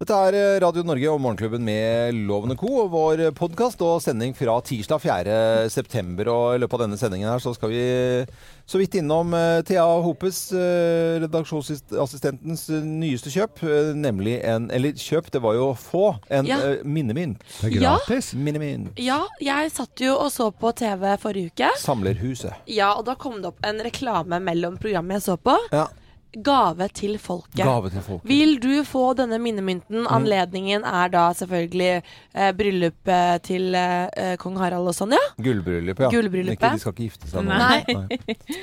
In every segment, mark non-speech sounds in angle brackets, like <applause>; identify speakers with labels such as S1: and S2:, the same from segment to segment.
S1: Dette er eh, Radio Norge og Morgenklubben med Lovende Co. og vår podkast og sending fra tirsdag 4. september. Og i løpet av denne sendingen her så skal vi eh, så vidt innom eh, Thea Hopes, eh, redaksjonsassistentens eh, nyeste kjøp. eh, Nemlig en Eller kjøp, det var jo få. En
S2: Ja.
S1: eh, minnemynt.
S3: Det er
S2: Ja.
S3: gratis.
S1: Minnemynt.
S2: Ja, jeg satt jo og så på TV forrige uke.
S1: Samlerhuset.
S2: Ja, og da kom det opp en reklame mellom programmet jeg så på.
S1: Ja.
S2: Gave til folket.
S1: Gave Mm. til folk.
S2: Vil du få denne minnemynten? Anledningen er da selvfølgelig eh, bryllupet til eh, kong Harald og sånn, ja.
S1: Gullbryllupet, ja.
S2: Gullbryllupet.
S1: Ikke, de skal ikke gifte seg nå.
S2: Nei.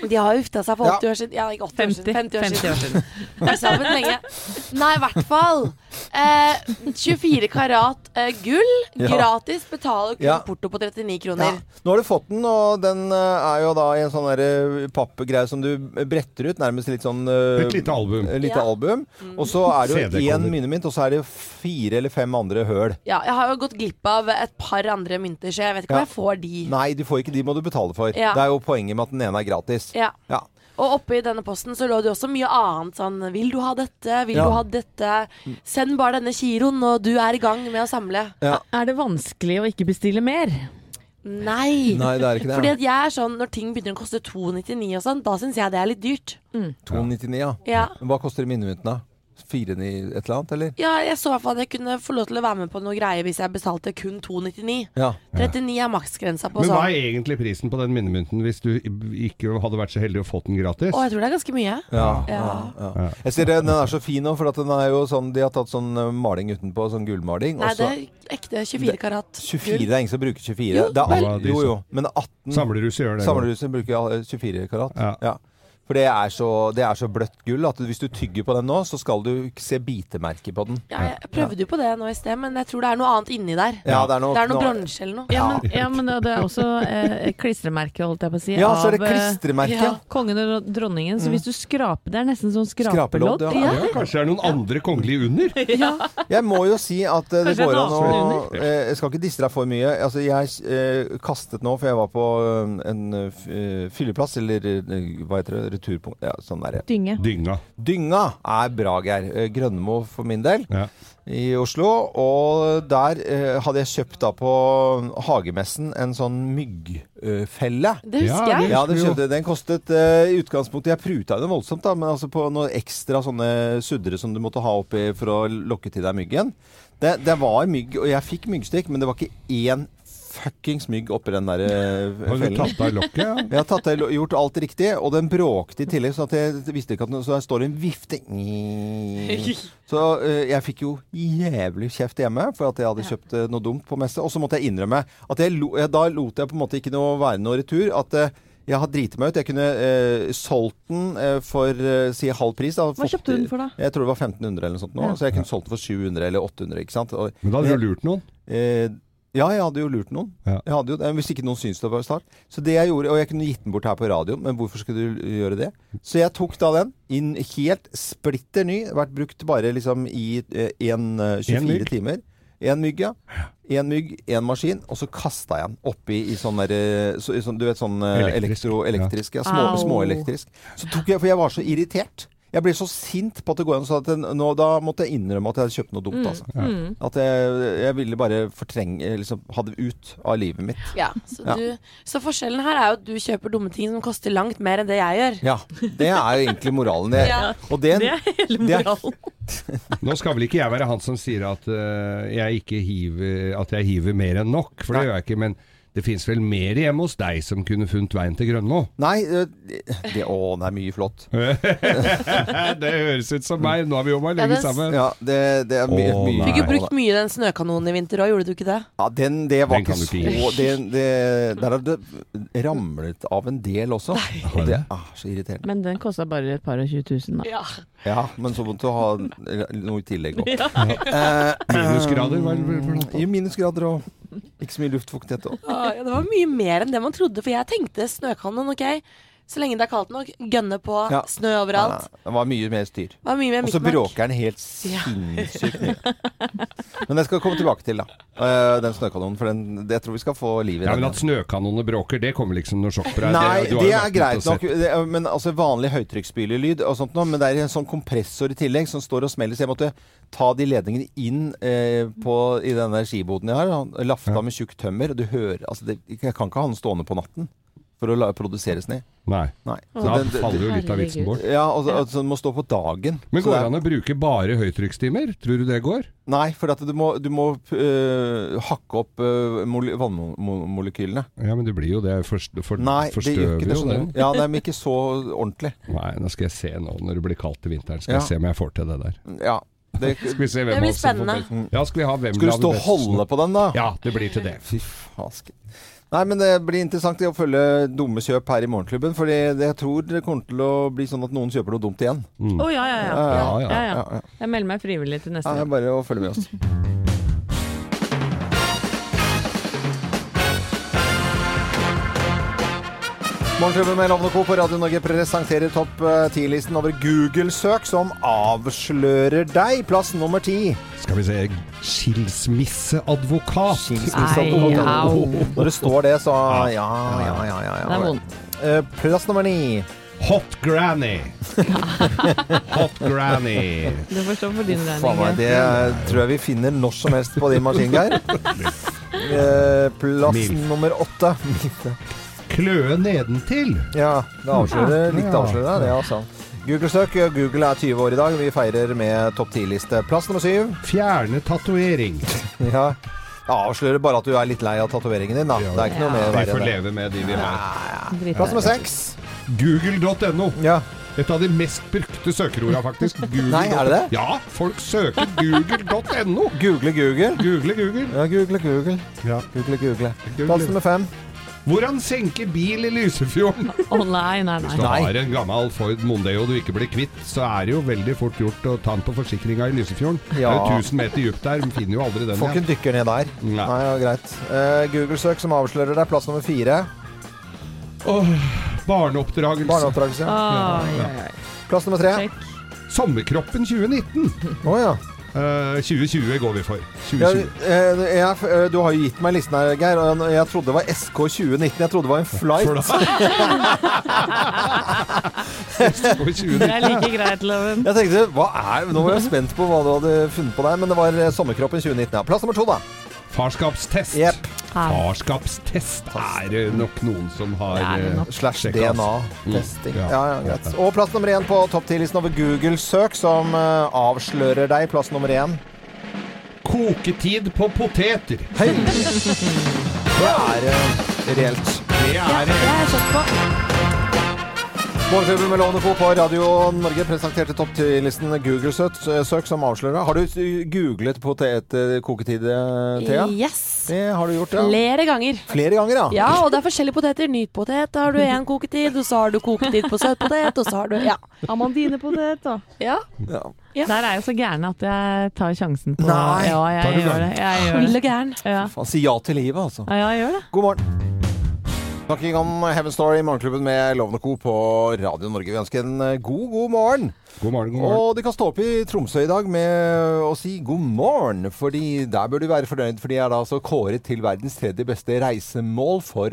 S2: De har gifta seg for
S1: Ja.
S2: 80 år siden. Ja, ikke 80 år
S4: 50,
S2: siden. 50 år siden.
S4: år siden.
S2: Vært sammen lenge. Nei, i hvert fall. Eh, 24 karat eh, gull.
S1: Ja.
S2: Gratis. Betaler kun
S1: Ja.
S2: porto på 39
S1: Ja.
S2: kroner.
S1: Nå har du fått den, og den eh, er jo da i en sånn der, eh, pappgreie som du eh, bretter ut. Nærmest litt sånn eh,
S3: Et lite album.
S1: eh, lite
S2: Ja. Mm.
S1: album. Og så er det jo
S3: CD-koder.
S1: én minnemynt, og så er det fire eller fem andre høl.
S2: Ja, jeg har jo gått glipp av et par andre mynter, så jeg vet ikke
S1: Ja.
S2: om jeg får de.
S1: Nei, du får ikke de, må du betale for.
S2: Ja.
S1: Det er jo poenget med at den ene er gratis.
S2: Ja.
S1: Ja.
S2: Og oppi denne posten så lå det jo også mye annet sånn Vil du ha dette? Vil
S1: Ja. Mm.
S2: du ha dette? Send bare denne kiroen, og du er i gang med å samle.
S4: <laughs> Er det vanskelig å ikke bestille mer?
S2: Nei.
S1: Nei, det er ikke
S2: Fordi
S1: det.
S2: at jeg er sånn, Når ting begynner å koste 2,99 og sånn, da syns jeg det er litt dyrt.
S1: 299, ja.
S2: Ja.
S1: Hva koster minnemynten, da? 49 et eller annet, eller?
S2: ja, jeg så i hvert fall at jeg kunne få lov til å være med på noe greier hvis jeg betalte kun 2,99.
S1: Ja.
S2: 39 er maksgrensa på
S3: Men hva
S2: sånn.
S3: er egentlig prisen på den minnemynten hvis du ikke hadde vært så heldig å få den gratis?
S2: Å, jeg tror det er ganske mye.
S1: Ja, ja,
S2: Ja.
S1: ja. Jeg ser det, den er så fin nå, for at den er jo sånn, de har tatt sånn eh, maling utenpå, sånn gullmaling.
S2: Nei,
S1: og så-
S2: det er ekte 24 karat.
S1: 24, det er ingen som bruker 24.
S2: Jo,
S1: det er,
S3: vel.
S1: alt- jo, jo, men 18
S3: Samlerhuset gjør det.
S1: samlerhuset bruker eh, 24 karat. Ja.
S3: Ja.
S1: For det er, så, det er så bløtt gull at hvis du tygger på den nå, så skal du ikke se bitemerker på den.
S2: Ja, jeg prøvde jo på det nå i sted, men jeg tror det er noe annet inni der.
S1: Ja, det er noe,
S2: Det er noe bronse eller noe.
S4: Ja, men, ja, men det er også eh, klistremerke, holdt jeg på å si.
S1: Ja, så er det
S4: av, eh,
S1: klistremerke. Mm.
S2: ja.
S4: Kongen og dro- dronningen. Så hvis du skraper Det er nesten sånn
S1: Skrapelodd,
S4: skrapelodd.
S1: ja.
S3: Ja, kanskje det er noen andre kongelige
S2: <laughs>
S3: under?
S1: Jeg må jo si at eh, det
S4: Kanskje
S1: går
S4: en
S1: an å
S4: annen
S1: eh, Jeg skal ikke disse deg for mye. Altså, jeg eh, kastet nå, for jeg var på eh, en eh, f- eh, fylleplass, eller eh, hva heter det, returpunkt ja, sånn der.
S4: Dynge.
S3: Dynga.
S1: Dynga er bra, Geir. Eh, Grønmo for min del.
S3: Ja.
S1: i Oslo, og der eh, hadde jeg kjøpt da på hagemessen en sånn myggfelle.
S2: Det husker
S3: Ja,
S2: jeg.
S1: Ja, det
S3: husker
S1: kjøpte, jeg. den kostet eh, i utgangspunktet Jeg pruta den voldsomt, da, men altså på noen ekstra sånne suddere som du måtte ha oppi for å lokke til deg myggen. Det, det var mygg, og jeg fikk myggstikk, men det var ikke én fuckings mygg oppi den der eh,
S3: Har du
S1: fellen.
S3: tatt av lokket? Ja?
S1: Jeg har tatt, det- gjort alt riktig, og den bråkte i tillegg, så at jeg visste ikke at den, Så der står en vifte
S4: <laughs>
S1: Så eh, jeg fikk jo jævlig kjeft hjemme for at jeg hadde kjøpt eh, noe dumt på messe. Og så måtte jeg innrømme at jeg lo, jeg, da lot jeg på en måte ikke noe være noe retur. At eh, jeg har driti meg ut. Jeg kunne eh, solgt den eh, for eh, si halv pris. Da,
S4: Hva kjøpte du den for, da?
S1: Jeg tror det var 1500 eller noe sånt nå.
S4: Ja.
S1: Så jeg kunne solgt den for 700 eller 800, ikke sant. Og,
S3: Men da hadde du lurt noen.
S1: Eh, ja, jeg hadde jo lurt noen.
S3: Ja.
S1: Jeg hadde jo, eh, hvis ikke noen syntes det var start. Så det jeg gjorde, Og jeg kunne gitt den bort her på radioen, men hvorfor skulle du gjøre det? Så jeg tok da den, inn helt splitter ny, vært brukt bare liksom i eh, en, eh,
S3: En
S1: 24
S3: mygg.
S1: timer. Én mygg, ja. Én mygg, én maskin. Og så kasta jeg den oppi i sånn der, eh, så, i sånn, Du vet sånn eh,
S3: Elektrisk.
S1: elektro, elektrisk. Ja. Små,
S4: Au.
S1: småelektrisk. Så tok jeg For jeg var så irritert. Jeg ble så sint på at det går an. Så at den- nå, da måtte jeg innrømme at jeg hadde kjøpt noe
S2: Mm.
S1: dumt, altså. At jeg, jeg ville bare fortrenge liksom, Ha det ut av livet mitt.
S2: Ja, så,
S1: Ja.
S2: Du, så forskjellen her er jo at du kjøper dumme ting som koster langt mer enn det jeg gjør.
S1: Ja. Det er jo egentlig moralen. Det,
S2: Ja.
S1: Og det,
S4: Det er hele
S1: Det er-
S4: moralen.
S3: Nå skal vel ikke jeg være han som sier at, eh, jeg, ikke hiver, at jeg hiver mer enn nok, for det gjør jeg ikke. Men det fins vel mer hjemme hos deg som kunne funnet veien til Grønmo? <laughs>
S1: Nei, eh, det, det, å, det er mye flott.
S3: Det høres ut som meg, nå har vi jobba
S2: Ja,
S3: lenge
S2: det-
S3: sammen.
S1: Ja, det, det er mye,
S3: Å,
S1: mye
S3: nei.
S2: Fikk jo
S3: Nei,
S2: brukt mye den snøkanonen i vinter òg, gjorde du ikke det?
S1: Ja, den, det var
S3: Den
S1: ikke
S3: kan
S1: så
S3: du ikke gi.
S1: det, det, Der har det ramlet av en del også. Og det er så irriterende.
S4: Men den kosta bare et par og tjue tusen, da.
S2: Ja.
S1: Ja, men så måtte du ha noe i tillegg <laughs> òg.
S3: Eh, Minusgrader, var det vel blant
S1: I minusgrader og ikke så mye luftfuktighet. Og.
S2: ja, det var mye mer enn det man trodde, for jeg tenkte snøkanon, OK. Så lenge det er kaldt nok, gønne på,
S1: Ja.
S2: snø
S1: Nei,
S2: overalt.
S1: Det var mye mer styr.
S2: Det var mye mer
S1: Og så
S2: mikmak.
S1: bråker den helt sinnssykt mye. Men den skal komme tilbake til, da. Eh, Den snøkanonen. For den, det, jeg tror vi skal få liv i
S3: Ja,
S1: den.
S3: men At snøkanonene bråker, det kommer liksom noe sjokk på deg.
S1: Nei, det, er
S3: du har jo vært ute og
S1: greit
S3: sett
S1: nok. Det, er- men altså Vanlig høytrykksspylerlyd og sånt noe. Men det er en sånn kompressor i tillegg som står og smeller. Så jeg måtte ta de ledningene inn eh, på, i denne skiboden jeg har. og Lafta med tjukt tømmer. Og du hører altså det, Jeg kan ikke ha den stående på natten for å la, produsere snø.
S3: Nei,
S1: Nei. Så
S3: da
S1: den-
S3: faller jo litt av vitsen bort.
S1: ja, og, og, så altså, den må stå på dagen.
S3: Men
S1: Så
S3: går
S1: det
S3: det
S1: er-
S3: an å bruke bare høytrykkstimer? Tror du det går?
S1: Nei, for at du må, du må øh, hakke opp øh, mole- vannmolekylene.
S3: Ja, men det blir jo det. Forst, for,
S1: Nei, det gjør
S3: forstøver
S1: ikke sånn. det.
S3: jo det.
S1: skjønner du. Ja, nei, men ikke så ordentlig.
S3: Nei, nå skal jeg se nå når det blir kaldt til vinteren. Skal
S1: Ja.
S3: jeg se om jeg får til det der.
S1: Ja. Det,
S3: Skal vi se hvem
S2: Det blir
S3: av oss som får
S2: spennende.
S3: best- Ja, skal vi ha hvem
S1: skal du
S3: av de
S1: stå og
S3: beste
S1: holde på den, da?
S3: som- Ja, det blir til det.
S1: Fy fasken. Nei, men det blir interessant å følge dumme kjøp her i Morgenklubben. For jeg tror det kommer til å bli sånn at noen kjøper noe dumt igjen.
S4: Å ja, ja, ja.
S3: Ja, ja.
S4: ja, ja.
S1: Ja, ja.
S4: Jeg melder meg frivillig til
S1: Ja,
S4: neste
S1: det er
S4: gang.
S1: bare å følge med altså. oss. Morgenklubben med Lovende Co. på Radio Norge presenterer topp 10-listen over Google-søk som avslører deg. Plass nummer ti.
S3: Skal vi se Skilsmisseadvokat.
S4: Ai, au.
S1: Når det står det, så Ja, ja, ja. ja,
S4: Det
S1: ja.
S4: er vondt.
S1: Eh, Plass nummer ni.
S3: Hot
S1: <laughs>
S3: granny. Hot granny.
S4: Du får stå for din
S1: Faen meg,
S4: regning.
S1: det tror jeg vi finner når som helst på din maskin, Geir. Eh, Plass
S3: Milf.
S1: nummer åtte. <laughs>
S3: Kløe nedentil.
S1: Ja, det avslører litt
S3: Ja.
S1: avslører det, altså. Google-søk. Google er 20 år i dag. Vi feirer med topp 10-liste. Plass nummer syv. <laughs>
S3: Fjerne tatovering.
S1: Ja. Det Avslører bare at du er litt lei av tatoveringen din, da. Det er ikke noe mer
S3: Vi får
S1: verre enn det.
S3: leve med de vi har.
S4: Drit i
S1: Plass nummer
S4: det.
S1: seks.
S3: Google.no.
S1: Ja.
S3: Et av de mest brukte søkeorda,
S1: <laughs>
S3: faktisk. Google.
S1: Nei, er det det?
S3: Ja, folk søker google.no.
S1: Google Google.
S3: Google Google.
S1: Ja, google Google.
S3: Ja.
S1: Google Google.
S3: Google.
S1: Plass nummer fem.
S3: Hvordan senke bil i Lysefjorden?
S4: Å nei, nei,
S3: Hvis du
S4: nei.
S3: har en gammel Ford Mondeo du ikke blir kvitt, så er det jo veldig fort gjort å ta den på forsikringa i Lysefjorden.
S1: Ja.
S3: Det er jo 1000 meter dypt der, men finner jo aldri den
S1: Får ikke
S3: igjen.
S1: en dykker ned der.
S3: Nei.
S1: Nei, ja, greit. Eh, Google-søk som avslører deg. Plass nummer fire.
S3: Åh, barneoppdragelse.
S1: Barneoppdragelse.
S4: Oi, oi, oi.
S1: Plass nummer tre.
S4: Sjekk.
S3: Sommerkroppen 2019.
S1: Å ja.
S3: Eh, 2020 går vi for.
S1: Ja,
S3: 2020.
S1: eh, jeg, eh, du har jo gitt meg listen her, Geir. Og jeg trodde det var SK 2019. Jeg trodde det var en flight.
S3: For da- SK 2019.
S4: Det
S1: <laughs>
S4: er like greit, Loven.
S1: Jeg tenkte, hva er, Nå var jeg spent på hva du hadde funnet på deg, men det var eh, sommerkroppen 2019. Ja. Plass nummer to, da.
S3: Farskapstest.
S1: Jepp.
S4: Ja.
S3: Farskapstest er det nok noen som har
S4: Det er det
S3: eh,
S4: nok.
S1: Slash
S3: sjekket, altså.
S1: DNA-testing.
S3: Mm, ja.
S1: Ja, ja, greit. Og plass nummer én på topp 10-listen over Google-søk, som eh, avslører deg. Plass nummer én.
S3: Koketid på poteter.
S1: Hei! <laughs> Det er eh, reelt.
S3: Det er det.
S1: Morgenklubben med Lovende Co. på Radio Norge presenterte topp 10-listen Google-søk eh, som avslører. Har du eh, googlet potetkoketid, eh, Thea?
S2: Yes.
S1: Det har du gjort, ja.
S2: Flere ganger.
S1: Flere ganger, ja.
S2: <laughs> Ja, og det er forskjellige poteter. Nytpotet har du én koketid, og så har du koketid på søtpotet, og så har du Ja.
S4: Amandinepotet, da.
S2: ja.
S1: ja.
S4: Der er jeg så gæren at jeg tar sjansen på
S1: Nei.
S4: Ja,
S3: Tar du
S4: jeg gjør
S3: den?
S4: det. Jeg gjør
S2: Vill
S4: det.
S2: og gæren.
S4: Ja.
S1: Faen, si ja til livet, altså.
S4: Ja, jeg gjør det.
S1: God morgen. Snakking om Heaven Story i Morgenklubben med Lovende Co. på Radio Norge. Vi ønsker en eh, god, god morgen.
S3: God morgen, god morgen.
S1: Og de kan stå opp i Tromsø i dag med å si god morgen, fordi der bør du være fornøyd, for de er da altså kåret til verdens tredje beste reisemål for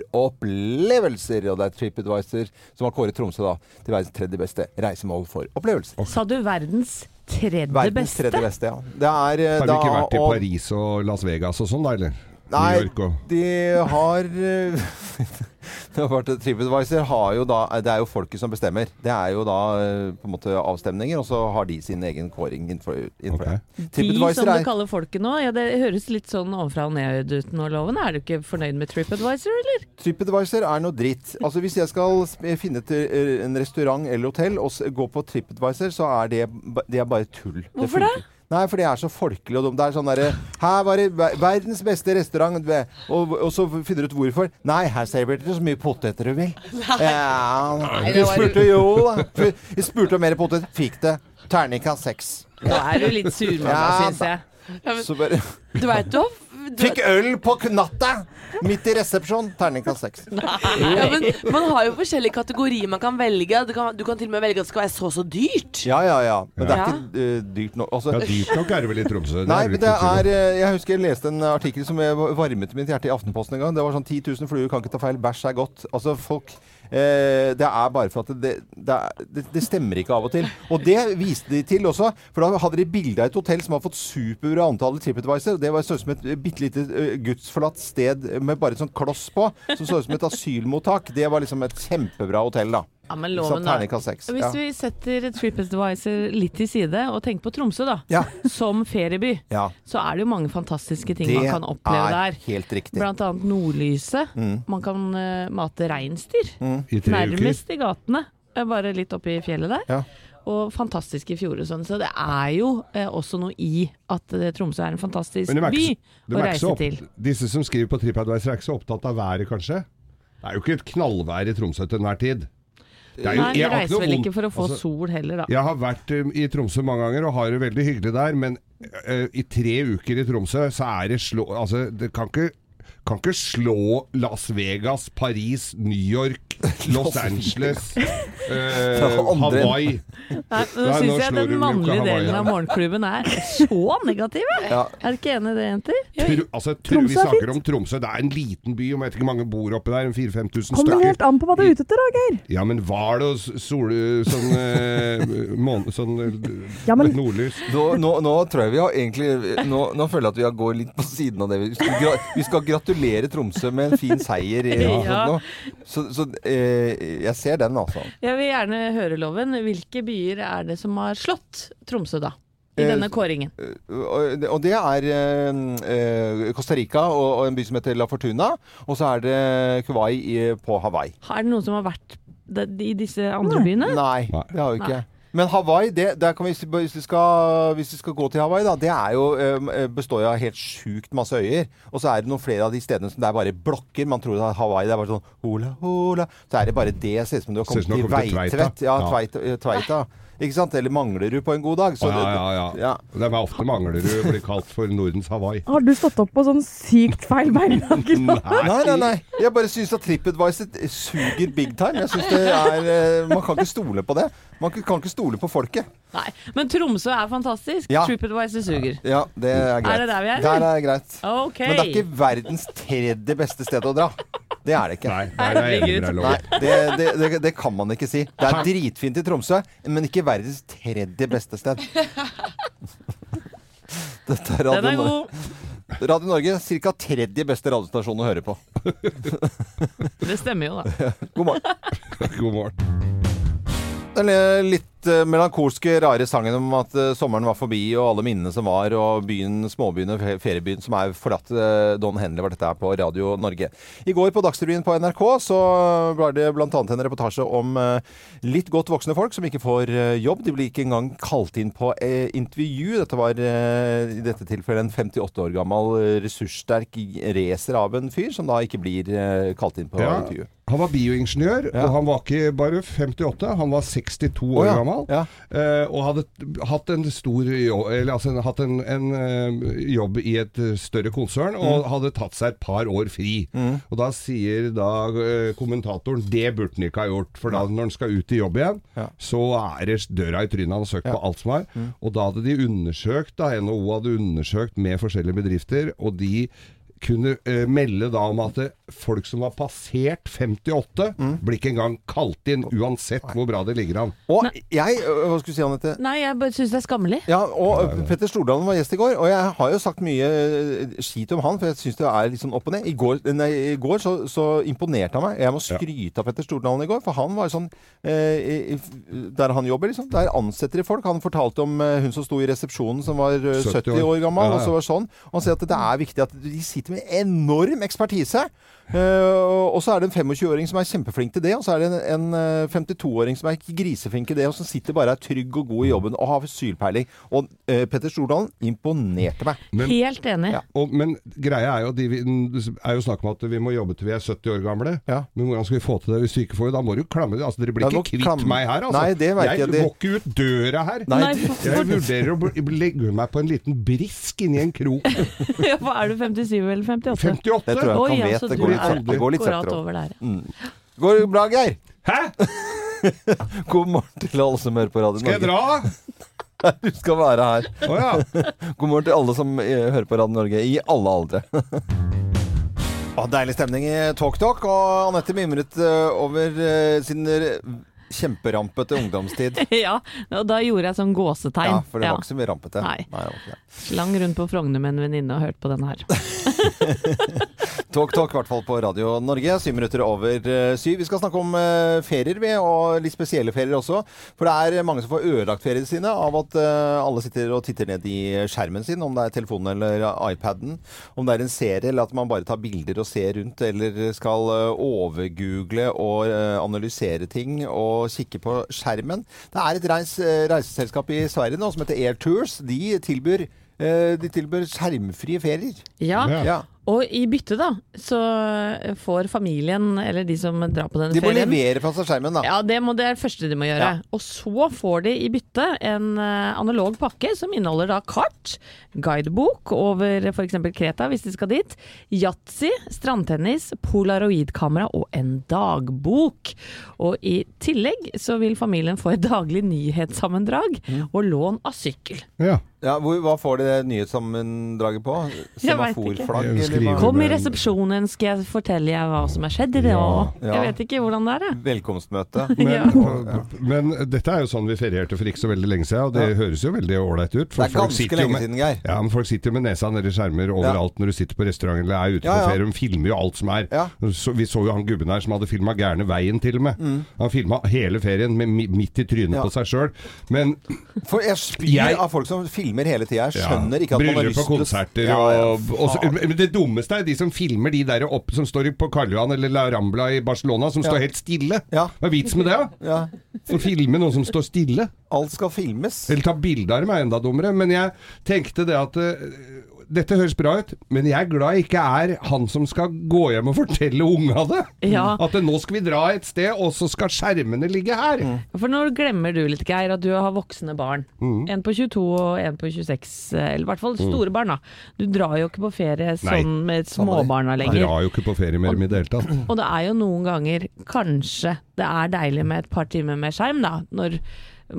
S1: opplevelser. Og det er TripAdvisor som har kåret Tromsø da til verdens tredje beste reisemål for opplevelser.
S4: Sa du verdens tredje
S1: Verdens
S4: beste?
S1: tredje beste, ja. Det er eh,
S3: Har du
S1: da
S3: ikke vært i
S1: og-
S3: Paris og Las Vegas og sånn, da, eller?
S1: Nei,
S3: New York og
S1: de har eh, <laughs> det har vært- TripAdvisor har jo da Det er jo folket som bestemmer. Det er jo da eh, på en måte avstemninger, og så har de sin egen kåring innenfor, innenfor
S3: Ok.
S1: det.
S4: De som
S1: TripAdvisor
S4: du
S1: er
S4: kaller folket nå, ja, det høres litt sånn ovenfra og ned ut nå, Loven. Er du ikke fornøyd med TripAdvisor, eller?
S1: TripAdvisor er noe dritt. Altså Hvis jeg skal sp- finne et, eh, en restaurant eller hotell og s- gå på TripAdvisor, så er det, ba- det er bare tull.
S2: Hvorfor
S1: funker. Nei, for det er så folkelig og dumt. Det er sånn derre Her var det ver- verdens beste restaurant, ve- og, og så finner du ut hvorfor. Nei, her serverte du så mye poteter du vil. Ja, nei, du spurte jo, da. Fu- Jeg spurte om mer potet. Fikk det. Terningkast seks.
S4: Nå er du litt surmanna,
S1: Ja,
S4: syns jeg.
S1: Så bare
S2: Du veit jo,
S1: Fikk øl på k- natta! Midt i resepsjon. Terningkast seks.
S2: Ja, men man har jo forskjellige kategorier man kan velge. Du kan, du kan til og med velge at det skal være så og så dyrt.
S1: Ja, ja, ja. Men det er
S2: Ja.
S1: ikke eh, dyrt nå. Altså,
S3: Ja, dyrt nok er det vel i Tromsø. det
S1: Nei,
S3: er
S1: men
S3: vel
S1: det
S3: ikke
S1: er
S3: tvil om.
S1: eh, Jeg husker jeg leste en artikkel som jeg varmet mitt hjerte i Aftenposten en gang. Det var sånn 10 000 fluer kan ikke ta feil, bæsj er godt. Altså, folk eh, Det er bare for at det, det, er, det, det stemmer ikke av og til. Og det viste de til også, for da hadde de bilde av et hotell som har fått superbra omtale i TripAdvisor. Det var så ut som et bitte lite eh, gudsforlatt sted med bare et sånt kloss på, som så ut som et asylmottak. Det var liksom et kjempebra hotell, da.
S4: Ja, men
S1: Så
S4: loven, da.
S1: terningkast seks. Ja.
S4: Hvis vi setter TripAdvisor litt til side og tenker på Tromsø, da.
S1: Ja.
S4: Som ferieby,
S1: ja.
S4: så er det jo mange fantastiske ting
S1: Det
S4: man kan oppleve
S1: er
S4: der.
S1: helt riktig.
S4: Blant annet nordlyset.
S3: Mm.
S4: Man kan eh, mate reinsdyr.
S3: I tre uker.
S4: Nærmest i gatene. eh, Bare litt oppe i fjellet der.
S1: Ja.
S4: Og fantastiske fjorder og sånn. Så det er jo eh, også noe i at eh, Tromsø er en fantastisk
S3: Men de er
S4: by
S3: ikke så- de
S4: å
S3: er ikke så
S4: reise
S3: opp-
S4: til.
S3: Disse som skriver på TripAdvisor er ikke så opptatt av været, kanskje? Det er jo ikke et knallvær i Tromsø til enhver tid. Det er jo-
S4: Nei, de
S3: jeg har
S4: reiser
S3: noe
S4: vel
S3: vondt-
S4: ikke for å få
S3: altså,
S4: sol heller, da.
S3: Jeg har vært um, i Tromsø mange ganger og har det veldig hyggelig der, men eh, i tre uker i Tromsø så er det slå... Altså, det kan ikke kan ikke slå Las Vegas, Paris, New York, Los Angeles, eh,
S1: andre-
S3: Hawaii
S4: Nei, nå
S3: Nei, nå
S4: syns jeg
S3: slår du
S4: den
S3: Luka
S4: mannlige
S3: Hawaii
S4: delen av
S3: her.
S4: morgenklubben er så
S3: <laughs>
S4: negativ! jeg.
S1: Ja.
S4: Er du ikke enig i det, jenter?
S3: Tr altså, tr
S5: Tromsø
S3: vi
S5: er
S3: snakker
S5: fint.
S3: om Tromsø. Det er en liten by, om jeg vet ikke hvor mange bor oppi der. en 4000-5000
S5: Kommer det
S3: stykker.
S5: helt an på hva du er ute etter, da, Geir?
S3: Ja, men var det s- sol... Sånn, eh, måne, sånn eh,
S5: Ja, men-
S3: nordlys?
S1: Nå, nå, nå tror jeg vi har egentlig Nå, nå føler jeg at vi har går litt på siden av det. Vi skal, gra vi skal gratulere Tromsø med en fin seier. eh, og
S4: Ja.
S1: sånt nå. Så, så eh, jeg ser den, altså.
S4: Jeg vil gjerne høre, Loven, hvilke byer er det som har slått Tromsø, da? I
S1: Eh,
S4: denne kåringen.
S1: Og og det er eh, eh, Costa Rica og, og en by som heter La Fortuna. Og så er det Kuwai i- på Hawaii.
S4: Er det noen som har vært de- i disse andre byene?
S1: Nei, det har vi ikke. Men Hawaii, det, der kan vi, si- hvis, vi skal, hvis vi skal gå til Hawaii, da, det er jo, eh, består jo av helt sjukt masse øyer. Og så er det noen flere av de stedene som det er bare blokker. Man tror at Hawaii det er bare sånn hula, hula. Så er det bare det. Ser ut som du har
S3: Ser ut
S1: kommet
S3: som du har
S1: til
S3: kommet til Tveita.
S1: Veitvet. Ja,
S3: Ja.
S1: Tveit- eh, Tveita. Ikke sant? Eller Manglerud på en god dag. Så
S3: Å, ja, ja, ja.
S1: det- ja.
S3: Det er ofte Manglerud blir kalt for Nordens Hawaii.
S5: Har du stått opp på sånn sykt feil beilag i dag?
S1: <laughs> Nei, nei, nei. Jeg bare syns at TripAdvisor suger big time. Jeg synes det er, eh, Man kan ikke stole på det. Man kan ikke stole på folket.
S4: <laughs> Nei. Men Tromsø er fantastisk.
S1: Ja.
S4: TripAdvisor suger.
S1: Ja, det er
S3: Mm.
S1: greit.
S4: det der vi er,
S1: Der
S4: eller?
S1: er det greit.
S4: Ok.
S1: Men det er ikke verdens tredje beste sted å dra. Det er det ikke.
S3: Nei, der er jeg enig med deg,
S1: Nei,
S3: Loven.
S1: det, det, det, det kan man ikke si. Det er dritfint i Tromsø, men ikke verdens tredje beste sted.
S4: <laughs>
S1: Dette er
S4: Den
S1: Radio,
S4: er
S1: Nor-
S4: god.
S1: Radio Norge, ca. tredje beste radiostasjon å høre på.
S4: Det stemmer
S1: <laughs>
S4: jo, da.
S1: God morgen.
S3: God morgen.
S1: Den eh, litt eh, melankolske, rare sangen om at eh, sommeren var forbi, og alle minnene som var, og byen, småbyen og fe- feriebyen som er forlatt. eh, Don Henley var dette her på Radio Norge. I går på Dagsrevyen på NRK så ble det bl.a. en reportasje om eh, litt godt voksne folk som ikke får eh, jobb. De blir ikke engang kalt inn på eh, intervju. Dette var eh, i dette tilfellet en 58 år gammel eh, ressurssterk racer av en fyr som da ikke blir eh, kalt inn på
S3: Ja.
S1: intervju.
S3: Han var bioingeniør, og han var ikke bare 58, han var 62
S1: Å,
S3: år
S1: ja.
S3: gammel.
S1: Ja.
S3: eh, Og hadde t- hatt en stor jobb, eller altså en- hatt en, en eh, jobb i et eh, større konsern, og hadde tatt seg et par år fri. Og da sier da eh, kommentatoren det burde han ikke ha gjort, for da når han skal ut i jobb igjen,
S1: Ja.
S3: så er det døra i trynet. Han har søkt på alt som er. Og da hadde de undersøkt, da NHO hadde undersøkt med forskjellige bedrifter, og de kunne eh, melde da om at det, folk som var passert 58, blir ikke engang kalt inn, uansett hvor bra det ligger an.
S1: Og jeg ø, Hva skulle du si, Anette?
S4: Nei, jeg bare syns det er skammelig.
S1: Ja, og Petter Stordalen var gjest i går, og jeg har jo sagt mye eh, skit om han, for jeg syns det er litt sånn opp og ned. I går, nei, i går så, så imponerte han meg. Jeg må skryte av Petter Stordalen i går, for han var sånn eh, i- i- Der han jobber, liksom. Der ansetter de folk. Han fortalte om eh, hun som sto i resepsjonen som var eh, 70
S3: 70
S1: år
S3: år
S1: gammel,
S3: Ja, ja.
S1: og så var sånn. Og han sier at det er viktig at de sitter med enorm ekspertise. Eh, og- og så er det en 25-åring som er kjempeflink til det, og så er det en, en eh, 52-åring som er griseflink til det, og som sitter bare er trygg og god i jobben og har sylpeiling. Og eh, Petter Stordalen imponerte meg.
S3: Men-
S4: Helt enig.
S1: Ja.
S3: Og, men greia er jo, at de, vi- det er jo snakk om at vi må jobbe til vi er 70 år gamle.
S1: Ja.
S3: Men hvordan skal vi få til det hvis vi ikke får det? Da må du klamre deg. Altså, dere blir
S1: Da må
S3: ikke kvitt
S1: klamre-
S3: meg her. Altså.
S1: Nei, det vet jeg,
S3: jeg
S1: det-
S3: må ikke ut døra her.
S1: Nei,
S4: Nei, for-
S1: <laughs>
S3: Jeg vurderer å bli- legge meg på en liten brisk inni en krok.
S4: Ja, for er du 57 eller 58?
S3: 58?
S1: Det tror jeg.
S4: Oi,
S1: han vet
S4: altså,
S1: det
S4: du
S1: går
S3: litt
S4: er
S3: sakte. Det
S1: går litt
S4: akkurat
S1: saktere.
S4: over der. <laughs>
S1: Går det bra, Geir?
S3: Hæ?
S1: God morgen til alle som hører på Radio
S3: Skal jeg
S1: Norge.
S3: dra?
S1: Du skal være her.
S3: Å ja.
S1: God morgen til alle som eh, hører på Radio Norge i alle aldre. <laughs> Å, deilig stemning i Talk Talk, og Anette mimret eh, over eh, sin eh, kjemperampete ungdomstid.
S4: Ja, og da gjorde jeg sånn gåsetegn.
S1: Ja, for det
S4: Ja.
S1: var ikke så mye rampete.
S4: Nei.
S1: det var ikke det.
S4: Lang rundt på Frogner med en venninne og hørt på
S1: <laughs>
S4: denne her.
S1: Talk Talk, i hvert fall på Radio Norge. Syv minutter over eh, syv. Vi skal snakke om eh, ferier, vi, og litt spesielle ferier også. For det er mange som får ødelagt feriene sine av at eh, alle sitter og titter ned i eh, skjermen sin, om det er telefonen eller eh, iPaden, om det er en serie, eller at man bare tar bilder og ser rundt, eller skal eh, overgoogle og eh, analysere ting og kikke på skjermen. Det er et reis, eh, reiseselskap i Sverige nå som heter Air Tours. De tilbyr, eh, de tilbyr skjermfrie ferier.
S4: Ja,
S3: Ja.
S1: Ja.
S4: og i bytte da, så får familien, eller de som drar på denne
S1: De må
S4: ferien
S1: levere fra seg skjermen, da.
S4: Ja, det, må, det er det første de må gjøre.
S1: Ja.
S4: Og så får de i bytte en eh, analog pakke som inneholder da kart, guidebok over f.eks. Kreta hvis de skal dit, yatzy, strandtennis, polaroidkamera og en dagbok. Og i tillegg så vil familien få et daglig nyhetssammendrag og lån av sykkel.
S3: ja.
S1: Ja, hvor, hva får de det nyhetssammendraget på?
S4: <laughs> Jeg vet ikke.
S1: Semaforflagg?
S3: Jeg
S1: eller hva?
S3: skriver.
S4: Kom i resepsjonen skal jeg fortelle deg hva som har skjedd i dag.
S3: Ja.
S1: Ja.
S4: Jeg vet ikke hvordan det er, jeg.
S3: <laughs>
S1: Velkomstmøte.
S3: Men,
S4: Ja.
S3: men dette er jo sånn vi ferierte for ikke så veldig lenge siden, og det
S1: Ja.
S3: høres jo veldig åleit ut.
S1: Det
S3: For
S1: er
S3: folk
S1: ganske
S3: sitter jo
S1: lenge
S3: med,
S1: siden, Geir.
S3: ja, men folk sitter jo med nesa nedi skjermer overalt når du sitter på restaurant eller er ute
S1: Ja, ja.
S3: på ferie. De filmer jo alt som er.
S1: Ja.
S3: Så, vi så jo han gubben her som hadde filma gærne veien, til og med. Han filma hele ferien med, mi- midt i trynet
S1: Mm. Ja.
S3: på seg sjøl. Men
S1: For jeg spyr
S3: Jeg-
S1: av folk som filmer hele tida. Jeg
S3: ja,
S1: skjønner ikke at man har
S3: bryllup
S1: lyst
S3: og konserter
S1: Ja, ja,
S3: og, og så,
S1: faen.
S3: Men det dummeste er de som filmer de der oppe som står på Karl Johan eller La Rambla i Barcelona, som står helt stille.
S1: Ja.
S3: Hva er vitsen med det, da?
S1: ja,
S3: Å filme noen som står stille?
S1: alt skal filmes.
S3: Eller ta bilde av dem er enda dummere. Men jeg tenkte det at eh, dette høres bra ut, men jeg er glad jeg ikke er han som skal gå hjem og fortelle unga det.
S4: Ja.
S3: At eh, nå skal vi dra et sted, og så skal skjermene ligge her.
S4: For nå glemmer du litt, Geir, at du har voksne barn. En på 22 og en på 26, eller i hvert fall store barn, da. Du drar jo ikke på ferie
S3: Nei.
S4: sånn
S1: Samme
S4: med
S1: det.
S4: småbarna
S3: Jeg
S4: lenger.
S3: drar jo ikke på ferie med dem i det hele tatt.
S4: Og det er jo noen ganger kanskje det er deilig med et par timer med skjerm, da. Når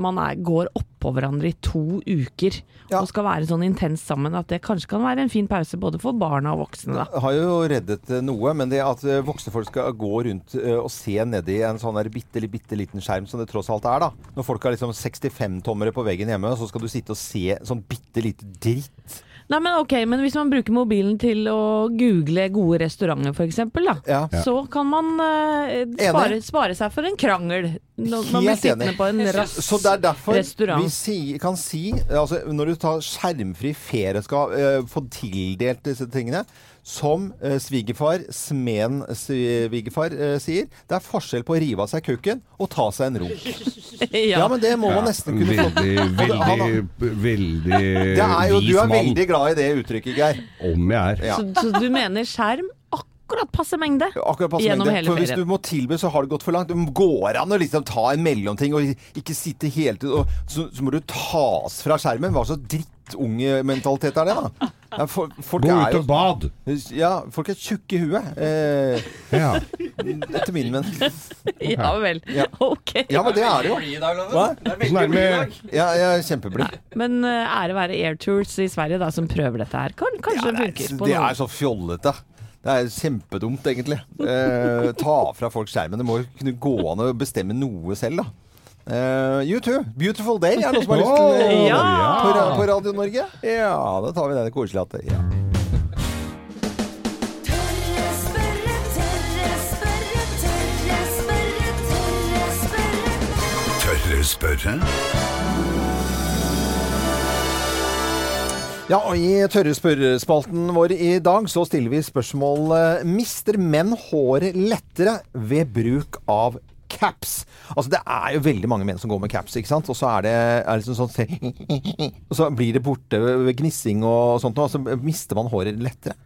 S4: man er, går oppå hverandre i to uker
S1: Ja.
S4: og skal være sånn intenst sammen at det kanskje kan være en fin pause både for barna og voksne, da.
S1: har jo reddet eh, noe, men det at eh, voksne folk skal gå rundt eh, og se nedi en sånn der bitte, li- bitte liten skjerm som det tross alt er, da. Når folk har liksom 65-tommere på veggen hjemme, så skal du sitte og se sånn bitte lite dritt.
S4: Nei, men ok, men hvis man bruker mobilen til å google gode restauranter f.eks., da.
S1: Ja.
S4: Så kan man eh, spare, spare seg for en krangel. Når man blir
S1: Helt enig.
S4: sittende på en rass
S1: Så det er derfor vi
S4: restaurant.
S1: si, kan si altså Når du tar skjermfri ferie skal eh, få tildelt disse tingene, som eh, svigerfar, smeden svigerfar, eh, sier Det er forskjell på å rive av seg kukken og ta seg en runk. Ja,
S4: <laughs> Ja.
S1: men det må man nesten kunne få.
S3: Veldig,
S1: han
S3: veldig, veldig
S1: Det er jo, du er
S3: vis mann.
S1: veldig glad i det uttrykket, Geir.
S3: Om jeg er.
S1: Ja.
S4: Så, så du mener skjerm akkurat passe mengde?
S1: Akkurat passe
S4: Gjennom
S1: mengde.
S4: hele
S1: For hvis
S4: ferien.
S1: du må tilby, så har det gått for langt. Det går an å liksom ta en mellomting og ikke sitte hele tiden og så, så må du tas fra skjermen. Hva slags drittunge-mentalitet er det, da? Ja, for, folk
S3: Gå
S1: er
S3: ut
S1: jo
S3: og bad!
S1: Ja, folk er tjukke i huet. Eh,
S3: Ja.
S1: etter min mening.
S4: <laughs> Ja vel.
S1: Ja.
S4: Ok.
S1: Ja, men det er det jo.
S6: blid i dag, Loven.
S1: Hva?
S6: Det er
S3: Sånn er
S6: veldig
S3: det
S6: blid i
S3: med-
S6: dag.
S1: Ja, jeg er kjempeblid.
S4: Men eh, ære være Air Tours i Sverige da, som prøver dette her. Kan, kanskje det funker på
S1: Det
S4: noe.
S1: er så fjollete. Det er kjempedumt, egentlig. Eh, ta fra folk skjermen. Det må jo kunne gå an å bestemme noe selv, da. Eh, you too. Beautiful day er det noen som har lyst til det
S4: Åh, ja!
S1: på, ra- på Radio Norge. Ja, da tar vi den koselige at det- ja.
S7: Tørre spørre, tørre spørre, tørre spørre, tørre spørre.
S8: Tørre spørre?
S1: Ja, og I tørre spørrespalten vår i dag så stiller vi spørsmålet Mister menn håret lettere ved bruk av caps? Altså Det er jo veldig mange menn som går med caps, ikke sant? Og så er det er liksom sånn <laughs> Og så blir det borte ved gnissing og sånt, og så mister man håret lettere.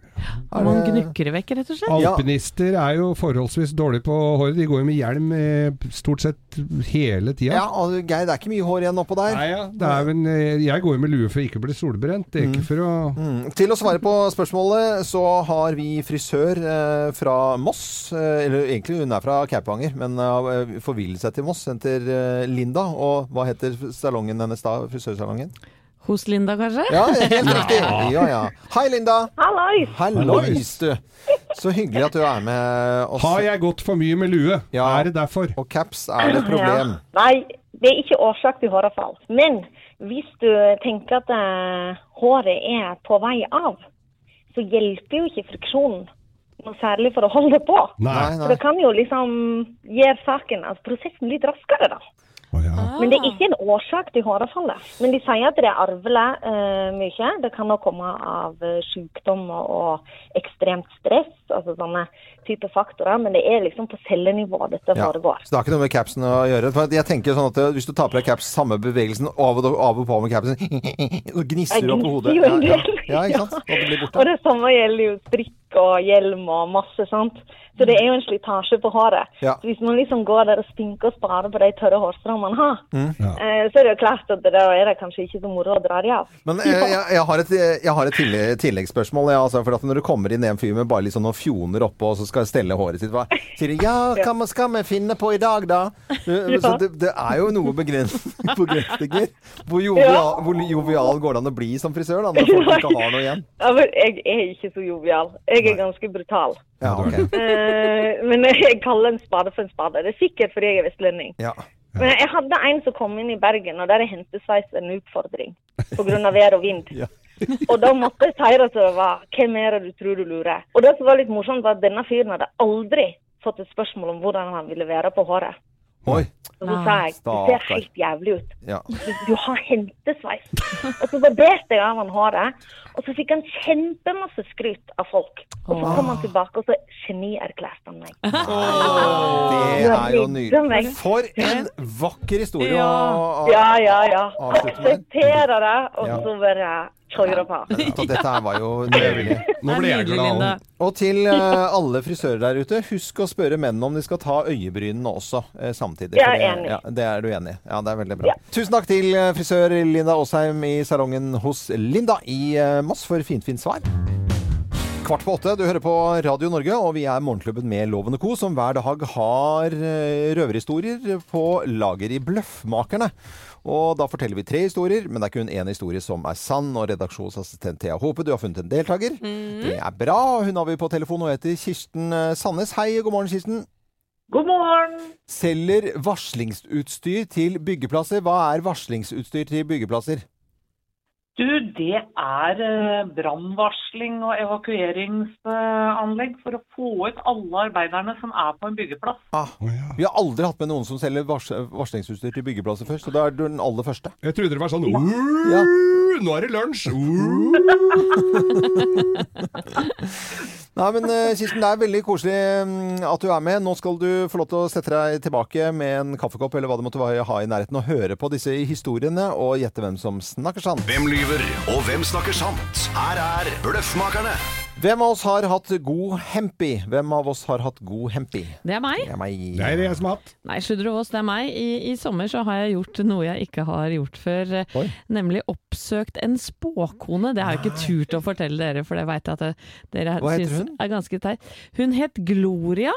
S1: Er
S4: Man
S1: det-
S4: gnukker det vekk, rett og slett.
S1: Ja.
S3: Alpinister er jo forholdsvis dårlige på håret. De går jo med hjelm eh, stort sett hele tida.
S1: Ja, og Geir, det er ikke mye hår igjen oppå der.
S3: Nei, ja. Det er vel, eh, jeg går jo med lue for ikke å bli solbrent. Det er ikke for å
S1: Mm. Til å svare på spørsmålet så har vi frisør eh, fra Moss. Eh, eller egentlig hun er fra Kaupanger, men har eh, forvillet seg til Moss. Henter eh, Linda. Og hva heter salongen hennes da? Frisørsalongen?
S4: Hos Linda, kanskje?
S1: Ja, helt riktig! Ja, ja. Hei, Linda!
S6: Hallois!
S1: Hallois, du! Så hyggelig at du er med oss.
S3: Har jeg gått for mye med lue?
S1: Ja.
S3: Er det derfor?
S1: Og caps er det et problem.
S6: Ja. Nei, det er ikke årsak til håravfall. Men hvis du tenker at eh, håret er på vei av, så hjelper jo ikke friksjonen noe særlig for å holde det på.
S1: Nei,
S6: Så det
S1: nei.
S6: kan jo liksom gjøre saken, altså prosessen litt raskere da.
S3: Å, ja.
S6: Men det er ikke en årsak til håravfallet. Men de sier at det er arvelig eh, mye. Det kan nok komme av eh, sykdom og, og ekstremt stress, altså sånne type faktorer. Men det er liksom på cellenivå dette
S1: Ja.
S6: foregår.
S1: Så det har ikke noe med capsen å gjøre. For jeg tenker sånn at Hvis du tar på deg caps, samme bevegelsen av og, av og på med capsen, <laughs> så gnisser du opp på hodet.
S6: Jeg gnisser jo en
S1: Ja,
S6: del.
S1: ja. ja, ikke sant? Og det blir borte.
S6: Og det samme gjelder jo strikk og hjelm og masse sånt. Så det er jo en slitasje på håret.
S1: Ja.
S6: Så hvis man liksom går der og stinker og sparer på de tørre hårstrømmene man har,
S1: Mm.
S3: Ja.
S6: eh, så er det jo klart at det da er det kanskje ikke så moro å dra de av.
S1: Men eh, jeg, jeg har et, jeg har et tillegg, tilleggsspørsmål. Ja, altså, for at når du kommer inn i en fyr med bare litt sånn noen fjoner oppå, og så skal stelle håret sitt, hva sier de 'ja, hva man skal vi finne på i dag', da? Du,
S6: Ja.
S1: Så det, det er jo noe begrens <laughs> begrensninger. Hvor jovial, hvor jovial går det an å bli som frisør da, når folk ikke
S6: <laughs>
S1: har noe igjen?
S6: Ja, men jeg er ikke så jovial. Jeg er ganske brutal.
S1: Ja, ok.
S6: Eh, men <laughs> jeg kaller en spade for en spade. Det er sikkert fordi jeg er vestlending.
S1: Ja.
S6: Men jeg hadde en som kom inn i Bergen, og der er hentesveis en utfordring pga. vær og vind.
S1: <laughs> Ja.
S6: og da måtte jeg si det som det var. Hvem er det du tror du lurer? Og det som var litt morsomt, var at denne fyren hadde aldri fått et spørsmål om hvordan han ville være på håret.
S1: Oi.
S6: Og så sa jeg det ser
S1: Stakkar.
S6: helt jævlig ut.
S1: Ja.
S6: Du, du har hentesveis. Og så barberte jeg av han håret, og så fikk han kjempemasse skryt av folk. Og så kom han tilbake, og så genierklærte han meg.
S1: Det er jo nydelig. For en vakker historie å å-
S6: Ja, ja, ja.
S1: avslutte med.
S6: Akseptere det, og
S1: Ja.
S6: så bare kjøre på.
S1: Så dette her var jo nydelig.
S3: Nå ble jeg glad.
S4: Linda.
S3: om-
S1: Og til eh, alle frisører der ute, husk å spørre mennene om de skal ta øyebrynene også eh, samtidig.
S6: Jeg
S1: for
S6: er
S1: det-
S6: enig.
S1: Ja, det er du enig i. Ja, det er veldig bra. Tusen takk til eh, frisør Linda Aasheim i salongen hos Linda i eh, Moss for finfint svar. Kvart på åtte, du hører på Radio Norge, og vi er Morgenklubben med Loven og Co., som hver dag har eh, røverhistorier på lager i Bløffmakerne. Og da forteller vi tre historier, men det er kun én historie som er sann. Og redaksjonsassistent Thea Håpe, du har funnet en deltaker. Det er bra. Hun har vi på telefon og heter Kirsten eh, Sandnes. Hei, god morgen, Kirsten.
S6: God morgen!
S1: Selger varslingsutstyr til byggeplasser. Hva er varslingsutstyr til byggeplasser?
S8: Du, det er eh, brannvarsling og evakueringsanlegg for å få ut alle arbeiderne som er på en byggeplass.
S3: Å, ja.
S1: Vi har aldri hatt med noen som selger vars varslingsutstyr til byggeplasser før, så da er du den aller første.
S3: Jeg trodde det var sånn
S1: Ja.
S3: «Uh, Nå er det lunsj! Uh.
S1: Nei, men eh, Kirsten, det er veldig koselig mm, at du er med. Nå skal du få lov til å sette deg tilbake med en kaffekopp eller hva det måtte være ha i nærheten, og høre på disse historiene og gjette hvem som snakker sant.
S9: Hvem lyver, og hvem snakker sant? Her er Bløffmakerne.
S1: Hvem av oss har hatt god hempi? Hvem av oss har hatt god hempi?
S4: Det er meg.
S1: Det er meg.
S3: Det er det jeg som har hatt.
S4: Nei, sludder og vås, det er meg. I, I sommer så har jeg gjort noe jeg ikke har gjort før. eh,
S1: Oi.
S4: Nemlig oppsøkt en spåkone. Det har jeg ikke turt å fortelle dere, for det veit jeg at det, dere
S1: Hva heter
S4: syns
S1: hun?
S4: er ganske teit. Hun het Gloria.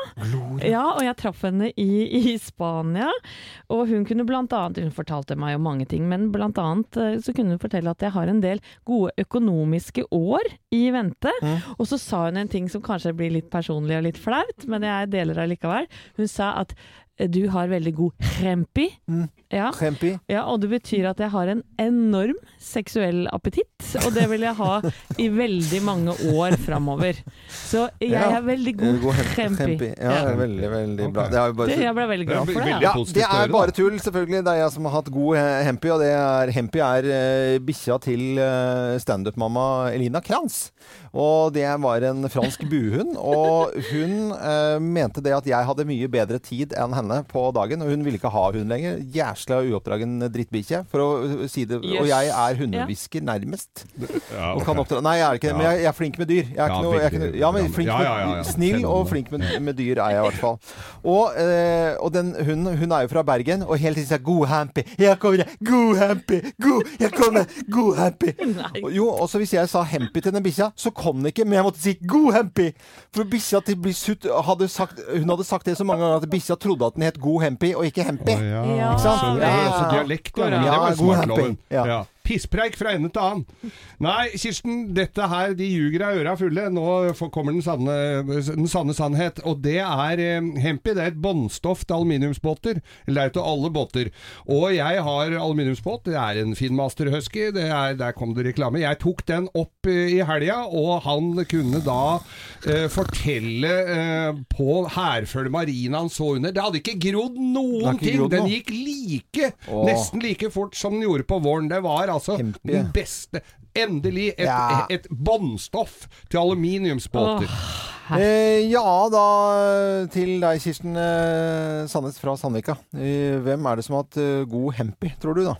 S4: Ja, og jeg traff henne i, i Spania. Og hun kunne blant annet Hun fortalte meg jo mange ting, men blant annet eh, så kunne hun fortelle at jeg har en del gode økonomiske år i vente.
S1: Mm.
S4: Og så sa hun en ting som kanskje blir litt personlig og litt flaut, men jeg deler allikevel. Hun sa at eh, Du har veldig god krempi.
S1: Mm.
S4: Ja.
S1: Krempi.
S4: ja, og det betyr at jeg har en enorm seksuell appetitt, og det vil jeg ha i veldig mange år framover. Så jeg
S1: Ja.
S4: er veldig
S1: Eh,
S4: god
S1: krempi.
S4: krempi.
S1: Ja, det er veldig, veldig bra.
S3: Ok.
S1: Det er jo
S4: Det,
S1: bare
S4: jeg ble veldig glad
S3: Det er
S4: for det. Ja.
S3: veldig-
S1: ja,
S3: positivt
S1: det
S3: å høre,
S1: er
S3: da.
S1: bare tull, selvfølgelig. Det er jeg som har hatt god eh, hempy, og det er, hempy er eh, bikkja til eh, standup-mamma Elina Kranz. Og det var en fransk buhund, og hun eh, mente det at jeg hadde mye bedre tid enn henne på dagen, og hun ville ikke ha hund lenger. Jæsla uoppdragen drittbikkje, for å eh, si det. Og jeg er hundehvisker nærmest.
S3: Ja,
S1: Og
S3: ok.
S1: kan oppdra Nei, jeg er ikke det, men jeg, jeg er flink med dyr. Jeg er
S3: Ja,
S1: ikke noe, jeg er ikke
S3: veldig
S1: noe, ja, men
S3: programmer.
S1: flink
S3: Ja,
S1: med,
S3: ja, ja, ja.
S1: Snill og
S3: Fenomenal.
S1: flink med, med dyr er jeg i hvert fall. Og, eh, og den hunden hun er jo fra Bergen, og hele tiden sier 'god hampy', 'jeg kommer', 'god hampy', 'god, jeg kommer', 'god hampy'. Og, jo, og så hvis jeg sa 'hampy' til den bikkja, så kom den ikke, men jeg måtte si 'god hampy'. For bikkja til Bliss Hutt hadde sagt, hun hadde sagt det så mange ganger at bikkja trodde at den het 'god hampy' og ikke 'hampy'.
S3: Å, ja.
S4: Ja.
S3: Ikke sant?
S1: Ja.
S3: Det er også dialekt, ja.
S1: Ja,
S3: det var
S1: god
S3: smartloven.
S1: happy. Ja.
S3: Ja. Pisspreik fra ende til annen. Nei, Kirsten, dette her, de ljuger av øra fulle. Nå får- kommer den sanne, den sanne sannhet. Og det er eh, Hempi. Det er et båndstoff til aluminiumsbåter. Eller det er jo til alle båter. Og jeg har aluminiumsbåt. Det er en Finmaster Husky. Det er, der kom det reklame. Jeg tok den opp eh, i helga, og han kunne da eh, fortelle eh, på Herføl Marina han så under. Det hadde ikke grodd noen
S1: Det har ikke
S3: ting.
S1: grodd
S3: Den
S1: noe.
S3: gikk like,
S1: Åh.
S3: nesten like fort som den gjorde på våren. Det var altså
S1: Kjempe.
S3: den beste Endelig et,
S1: Ja.
S3: et, båndstoff til aluminiumsbåter.
S1: Eh, ja, da til deg, Kirsten eh, Sandnes fra Sandvika. Eh, hvem er det som har hatt eh, god hempy, tror du, da?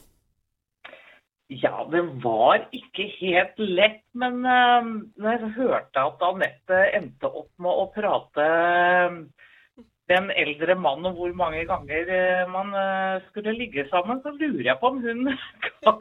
S8: Ja, det var ikke helt lett, men eh, når jeg hørte at Anette endte opp med å prate eh, den eldre mannen og hvor mange ganger eh, man eh, skulle ligge sammen, så lurer jeg på om hun <laughs> kan,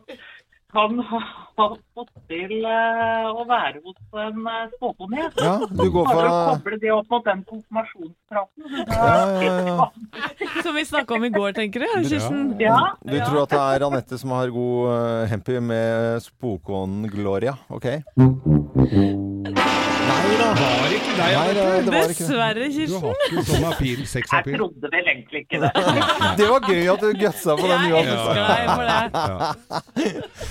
S8: kan ha ha fått til eh, å være hos en eh, spåkone. jeg.
S1: Ja, du går
S8: Klarer å
S1: for
S8: koble det opp mot den konfirmasjonspraten. så da-
S1: Ja, ja, ja.
S4: Som vi snakka om i går, tenker du, Kirsten.
S8: Ja,
S1: Du tror at det er Anette som har god eh, hempy med spokonen Gloria, OK? Nei da.
S3: Var ikke deg,
S1: Nei, det,
S3: Anette?
S1: det var ikke det.
S4: Dessverre,
S3: Du
S4: Kirsten.
S3: har ikke sånn appeal,
S8: Jeg
S3: sexappeal.
S8: trodde vel egentlig ikke det.
S1: Det var gøy at du gøssa på den.
S4: Jeg
S1: Johan.
S4: elsker deg for
S1: <laughs>
S4: det.
S3: Ja.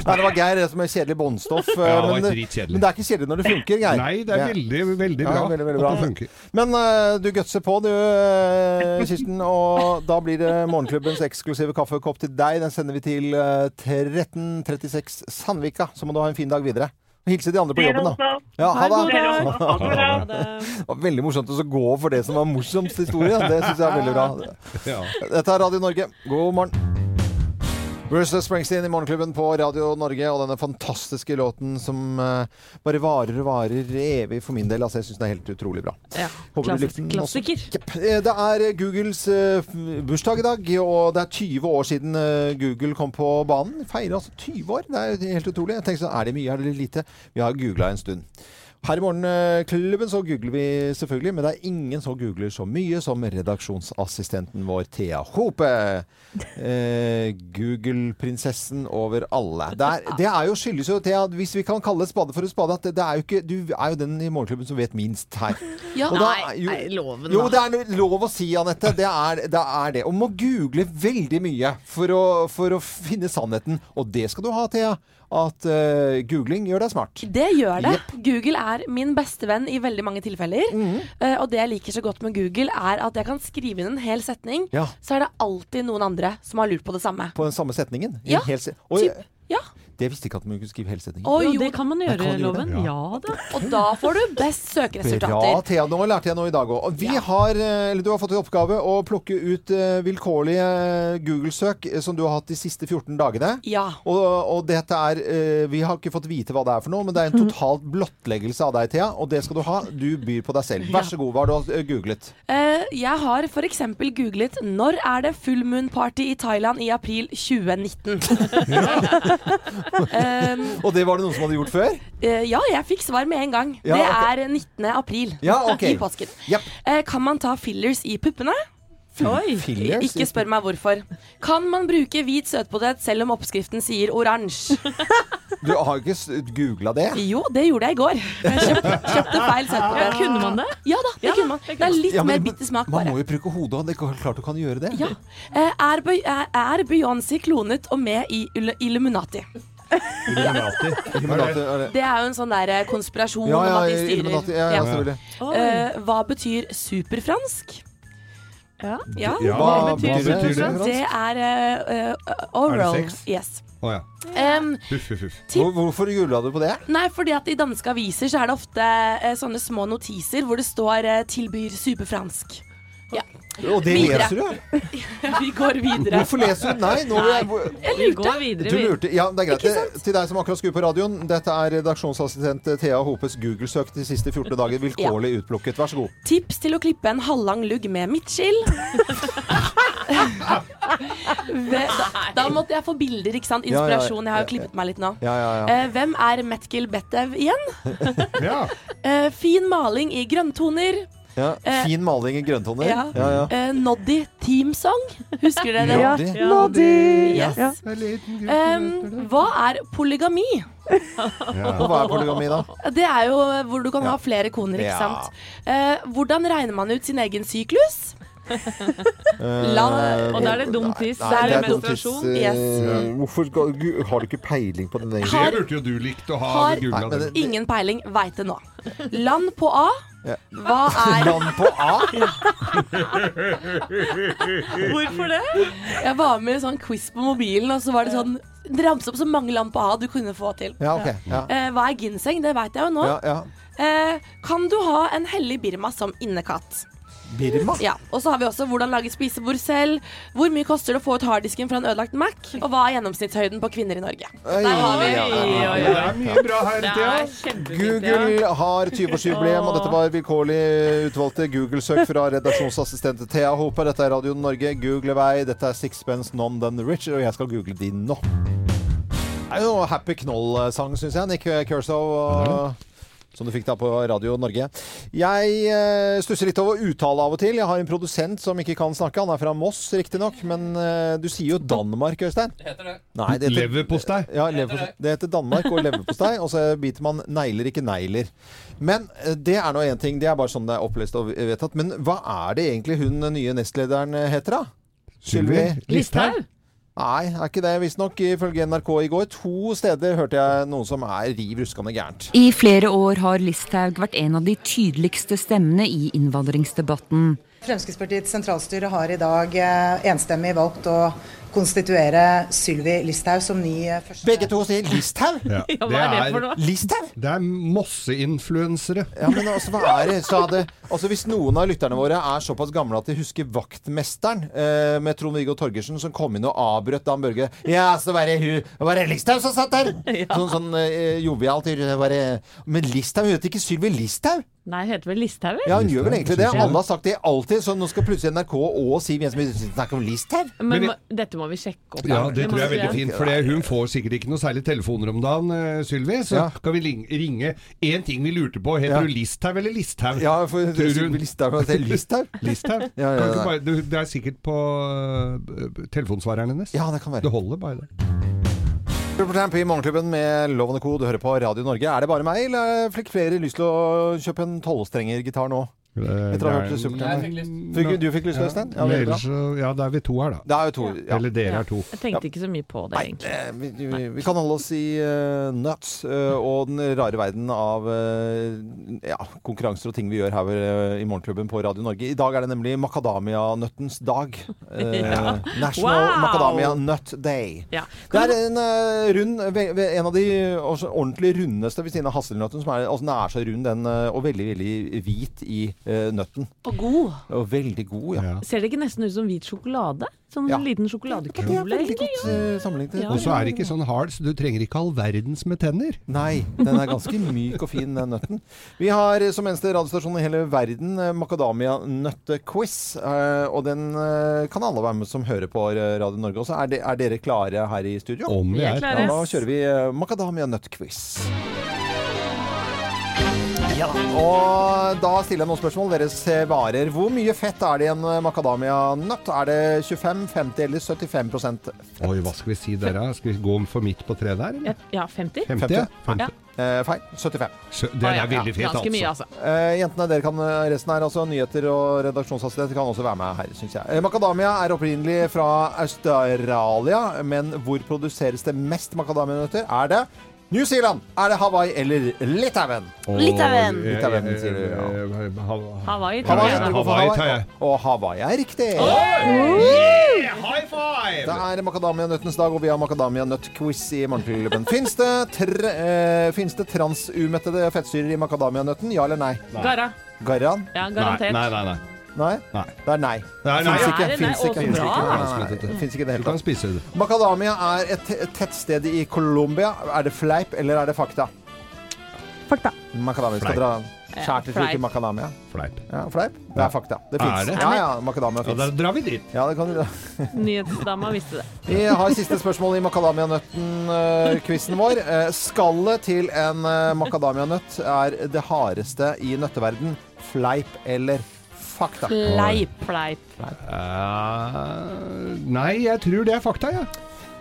S1: Nei, det var Geir, det som er kjedelig båndstoff. eh,
S3: Ja, det var
S1: men, det-
S3: dritkjedelig.
S1: men det er ikke kjedelig når det funker, Geir.
S3: Nei, det er veldig, veldig bra.
S1: Ja, veldig, veldig bra.
S3: At det funker.
S1: Men eh, du gutser på du, eh, Kirsten. Og da blir det Morgenklubbens eksklusive kaffekopp til deg. Den sender vi til eh, 1336 Sandvika. Så må du ha en fin dag videre. Og hilse de andre på jobben, da. Ja, ha det.
S8: Dere også. Ha det bra.
S4: Ha det. um,
S1: Det var veldig morsomt å så gå for det som var morsomst historie. Det syns jeg er veldig bra.
S3: Ja.
S1: Dette er Radio Norge. God morgen. Bruce Springsteen i Morgenklubben på Radio Norge, og denne fantastiske låten som eh, bare varer og varer evig for min del. Altså, jeg syns den er helt utrolig bra.
S4: Ja.
S1: Håper du likte den
S4: Klassisk,
S1: også.
S4: klassiker.
S1: Jepp. Eh, Det er Googles eh, f- bursdag i dag, og det er 20 år siden eh, Google kom på banen. Feirer altså 20 år. Det er helt utrolig. Jeg tenker sånn, Er det mye, er det lite? Vi har googla en stund. Her i Morgenklubben så googler vi selvfølgelig, men det er ingen som googler så mye som redaksjonsassistenten vår Thea Hope. Eh, Google-prinsessen over alle. Det er, det er jo skyldes jo Thea, hvis vi kan kalle spade for en spade, at det, det er jo ikke, du er jo den i Morgenklubben som vet minst her.
S4: Ja,
S1: Og da- jo-
S4: nei, loven,
S1: Jo,
S4: da.
S1: det er no- lov å si, Anette. Det er det. Er det. Og må google veldig mye for å, for å finne sannheten. Og det skal du ha, Thea. At eh, googling gjør deg smart.
S2: Det gjør det. Google er min beste venn i veldig mange tilfeller. Eh, og det jeg liker så godt med Google, er at jeg kan skrive inn en hel setning,
S1: Ja.
S2: så er det alltid noen andre som har lurt på det samme.
S1: På den samme setningen. I en
S2: Ja,
S1: hel se Oi,
S2: Typ. Ja.
S1: det visste jeg ikke at man kunne skrive hele setningen.
S2: Og,
S4: Jo,
S2: jo,
S4: det kan man
S1: kan
S4: gjøre,
S1: man gjøre.
S4: loven. Ja da.
S2: og da får du <laughs> best
S1: Bra,
S2: søkeresultater.
S1: Thea. Nå lærte jeg noe i dag òg. Og vi har, eh, eller du har fått i oppgave å plukke ut eh, vilkårlige eh, Google-søk eh, som du har hatt de siste 14 dagene.
S2: Ja.
S1: Og, og dette er eh, Vi har ikke fått vite hva det er for noe, men det er
S2: Mhm.
S1: en totalt blottleggelse av deg, Thea. Og det skal du ha. Du byr på deg selv. Vær så god. Hva har du eh, googlet?
S2: Eh, jeg har f.eks. googlet 'Når er det full moon party i Thailand i april 2019'? um,
S1: Og det var det noen som hadde gjort før?
S2: Eh, ja, jeg fikk svar med en gang.
S1: Ja,
S2: det
S1: ok.
S2: er 19. april
S1: Ja, ok.
S2: i påsken.
S1: Japp.
S2: Eh, kan man ta fillers i puppene?
S4: Oi.
S1: Fillers?
S2: Ikke spør meg hvorfor. Kan man bruke hvit søtpotet selv om oppskriften sier oransje?
S1: Du har jo ikke googla det?
S2: Jo, det gjorde jeg i går. Jeg kjøpte, kjøpte feil
S4: Ja,
S2: søtpotet.
S4: kunne man det?
S2: Ja da, det
S4: Ja,
S2: kunne man.
S4: det kunne
S2: Det er
S4: man.
S2: litt
S1: Ja, men
S2: mer bitter smak,
S1: Man
S2: bare.
S1: må jo bruke hodet, og det er klart du kan gjøre det.
S2: Ja. Eh, Er, Be- er er Beyoncé klonet og med i Ulle- Illuminati?
S1: Illuminati, er det-
S2: Det er jo en sånn der eh, konspirasjon
S1: Ja,
S2: om
S1: ja,
S2: at de
S1: Illuminati.
S2: styrer.
S1: Ja, ja,
S2: Ja.
S1: selvfølgelig.
S4: Eh,
S2: Eh, hva betyr superfransk?
S4: ja.
S2: Ja.
S3: Ja,
S1: Hva
S4: betyr
S1: betyr det? altså?
S2: Det er eh, eh, oral.
S3: Er det sex?
S2: Yes.
S3: Å ja.
S2: Em,
S4: <laughs>
S3: Huff, huff, huff.
S1: Hvor, hvorfor googla du på det?
S2: nei, fordi at i danske aviser så er det ofte eh, sånne små notiser hvor det står eh, 'tilbyr superfransk'. Ja,
S1: Og det
S2: Videre.
S1: leser du?
S2: vi går videre.
S1: Hvorfor leser du? Nei, nå jeg,
S4: Vi går videre.
S1: Du
S4: vi.
S1: lurte, ja, det er greit. Det- Til deg som akkurat skrur på radioen, dette er redaksjonsassistent eh, Thea Hopes Google-søk de siste 14 dager vilkårlig utplukket. Vær så god.
S2: Tips til å klippe en halvlang lugg med midtskill. Ve- da, da måtte jeg få bilder, ikke sant?
S1: Ja, ja, ja.
S2: Inspirasjon. Jeg
S1: Ja,
S2: har jo
S1: ja.
S2: klippet meg litt nå.
S1: Ja, ja, ja.
S2: Eh, hvem er Metgil Betev igjen?
S3: Ja.
S2: Eh, fin maling i grønntoner.
S1: ja. Fin maling i grønntoner.
S2: ja.
S1: Ja, ja.
S2: Eh, Noddy Teamsong. Husker dere det?
S5: Ja,
S1: det-
S5: Noddy!
S2: Yes.
S5: Ja.
S4: Eh,
S2: Em, hva er polygami?
S1: Og hva er polygami, da?
S2: Det er jo hvor du kan ha flere koner,
S1: Ja.
S2: ikke sant. Eh, hvordan regner man ut sin egen syklus? La-
S1: Eh,
S4: Og da er det dum tiss.
S1: Nei,
S4: Da
S2: er det
S1: er dum tiss.
S4: menstruasjon.
S1: Eh,
S2: Yes.
S1: Hvorfor skal- gu- har du ikke peiling på den egen?
S2: Har-
S3: Det burde jo du likt å ha
S2: Har-
S1: Nei, men
S3: googla.
S1: det-
S2: Ingen peiling, veit det nå. Land på A.
S1: Ja.
S2: Hva er
S1: Land på A?
S4: Hvorfor det?
S2: Jeg var med i en sånn quiz på mobilen, og så var det sånn Det ramset opp så mange land på A du kunne få til.
S1: Ja, ok. Ja.
S2: Eh, hva er ginseng? Det veit jeg jo nå.
S1: Ja, ja.
S2: Eh, kan du ha en hellig Birma som innekatt?
S1: Birma?
S2: Ja, Og så har vi også hvordan lage spisebord selv. Hvor mye koster det å få ut harddisken fra en ødelagt Mac? Og hva er gjennomsnittshøyden på kvinner i Norge?
S1: Oi,
S2: Der har vi
S1: ja, ja,
S4: Oi,
S1: ja.
S4: oi,
S3: Det
S4: oi.
S3: er mye bra her,
S4: Det
S3: Thea.
S4: er kjempefint. ja.
S1: Google har 20-årsjubileum, og dette var vilkårlig utvalgte Google-søk fra redaksjonsassistent Thea Hope. Dette er Radio Norge, google vei. Dette er Sixpence None Than Rich, og jeg skal google de nå. Det er jo noe Happy Knoll-sang, syns jeg. Nick Kershaw. Og som du fikk da på Radio Norge. Jeg eh, stusser litt over uttale av og til. Jeg har en produsent som ikke kan snakke. Han er fra Moss, riktignok, men eh, du sier jo Danmark, Øystein? Det heter det. Nei, det heter
S3: Leverpostei.
S1: ja, leverpostei. Det heter Danmark og leverpostei, og så biter man negler, ikke negler. Men eh, det er nå én ting. Det er bare sånn det er opplest og vedtatt. Men hva er det egentlig hun eh, nye nestlederen eh, heter, da? Sylvi?
S4: Listhaug.
S1: Nei, er ikke det visstnok ifølge NRK i går. To steder hørte jeg noen som er riv ruskende gærent.
S10: I flere år har Listhaug vært en av de tydeligste stemmene i innvandringsdebatten.
S11: Fremskrittspartiets sentralstyre har i dag eh, enstemmig valgt å konstituere Sylvi Listhaug som ny eh, første
S1: Begge to sier Listhaug!
S3: Ja.
S4: <laughs> Ja, hva er det for noe?
S1: Listhaug!
S3: Det er mosseinfluensere.
S1: Ja, men altså, hva er det? Så hadde, altså, hvis noen av lytterne våre er såpass gamle at de husker Vaktmesteren eh, med Trond-Viggo Torgersen som kom inn og avbrøt Dan Børge Ja, så var det hun det Var det Listhaug som satt der? Sånn, sånn eh, jovialt. det var det- Men Listhaug hun heter ikke Sylvi Listhaug.
S4: Nei, heter vel Listhaug? eller?
S1: Ja, hun gjør vel egentlig det.
S3: synes jeg.
S1: Alle har sagt det alltid. Så nå skal plutselig NRK og Siv Jensen snakke om Listhaug.
S4: Men
S3: Men-
S4: må, dette må vi sjekke opp.
S3: Ja, det tror jeg er veldig
S4: må vi gjøre.
S3: fint. For det- hun får sikkert ikke noe særlig telefoner om dagen, eh, Sylvi. Så
S1: Ja.
S3: kan vi ling- ringe én ting vi lurte på.
S1: Ja.
S3: Heter du Listhaug eller Listhaug?
S1: Ja, for
S3: Tror du-
S1: Sylvi Listhaug det er Listhaug?
S3: <laughs> Listhaug.
S1: Ja, ja,
S3: Kan
S1: ja.
S3: ikke bare- du- Det er sikkert på eh, telefonsvareren hennes.
S1: Ja, det kan være.
S3: Det holder bare det.
S1: Supertramp i Morgenklubben med Lovende Co. Du hører på Radio Norge. Er det bare meg, eller fikk flere lyst til å kjøpe en tolvstrengergitar nå? Etter å ha hørt Supertramp? Fikk, du fikk lyst,
S3: Ja.
S1: Øystein? Ja,
S3: Men
S1: veldig bra.
S3: ellers så- ja, da er vi to her, da.
S1: Det er jo to. Ja.
S3: Eller dere er to.
S4: Jeg tenkte ikke så mye på det,
S1: Nei,
S4: egentlig.
S1: eh, vi, vi, vi kan holde oss i eh, nuts eh, og den rare verden av eh, ja, konkurranser og ting vi gjør her eh, i Morgenklubben på Radio Norge. I dag er det nemlig makadamianøttens dag. Eh, National
S4: Wow!
S1: Macadamia Nut Day.
S4: Ja.
S1: Det er en eh, rund, ve- ve- en av de også ordentlig rundeste ved siden av hasselnøtten. Som er, altså, den er så rund den, eh, og veldig veldig hvit i eh, nøtten.
S2: Og god.
S1: Og veldig god, ja.
S3: Ja.
S4: Ser det ikke nesten ut som hvit sjokolade? Som en
S1: Ja.
S4: liten
S1: Det er
S4: sjokoladekule?
S1: veldig
S4: egentlig?
S1: godt eh, sammenlignet.
S4: Ja,
S3: Og så er det ikke sånn hard, så du trenger ikke all verdens med tenner.
S1: Nei, den er ganske myk og fin, den nøtten. Vi har eh, som eneste radiostasjon i hele verden eh, Makadamia-nøtte-quiz. eh, Og den eh, kan alle være med som hører på eh, Radio Norge også. Er, de, er dere klare her i studio?
S3: Om vi
S4: Jeg
S3: er
S4: klarer
S1: Ja, da kjører vi eh, Makadamia-nøtt-quiz. Og da stiller jeg noen spørsmål. Dere svarer. Hvor mye fett er det i en makadamia-nøtt? Er det 25, 50 eller 75 fett?
S3: Oi, hva skal vi si der, da? Skal vi gå for midt på treet der? eller?
S4: Ja, 50?
S3: 50? ja? 50.
S4: Ja.
S1: Eh, feil. 75.
S3: Så
S4: Ah,
S3: det er veldig fett, altså.
S1: Eh, jentene, dere kan eh, resten her, altså nyheter og redaksjonsassistent kan også være med her, syns jeg. Eh, makadamia er opprinnelig fra Australia, men hvor produseres det mest makadamianøtter? Er det New Zealand? Er det Hawaii eller Litauen?
S4: altså.
S3: Og- eh,
S1: Litauen,
S3: eh,
S1: sier du. Ja.
S3: eh, ha- ha-
S4: Hawaii.
S1: Hawaii,
S3: Ja,
S1: dere går for
S3: Hawaii
S1: Hawaii.
S3: tar jeg.
S1: Og Hawaii er riktig.
S3: High five!
S1: Det er makadamianøttens dag, og vi har makadamianøtt-quiz i Morgenklubben. Fins det, tr eh, finnes det transumettede fettsyrer i makadamianøtten? Ja eller nei?
S4: Garra.
S1: Garran?
S4: Ja, garantert.
S3: Nei, nei, nei.
S1: Nei? Det er nei.
S3: Det er nei.
S1: Fins ikke.
S4: Det er nei,
S1: Fins
S4: å,
S1: ikke.
S4: så
S1: Fins
S4: bra.
S1: ikke. Nei, nei, nei. Fins ikke i det
S3: Du
S1: hele
S3: kan
S1: tatt.
S3: spise det.
S1: Makadamia er et te- tettsted i Colombia. Er det fleip, eller er det fakta? Fakta. Makadamia skal
S3: Fleip.
S1: dra skjærtilslut
S3: Fleip.
S1: i makadamia.
S3: Fleip.
S1: Ja, fleip? Det er fakta. Det
S3: Er
S1: fins.
S3: det?
S1: Ja, ja, makadamia fins.
S3: da drar vi dit.
S1: Ja, det kan du dra.
S4: Nyhetsdama visste det.
S1: Vi har siste spørsmål i makadamianøtten-quizen vår. Eh, Skallet til en eh, makadamianøtt er det hardeste i nøtteverden. Fleip eller fakta?
S4: Fleip, fleip.
S3: Eh, nei, jeg tror det er fakta, jeg.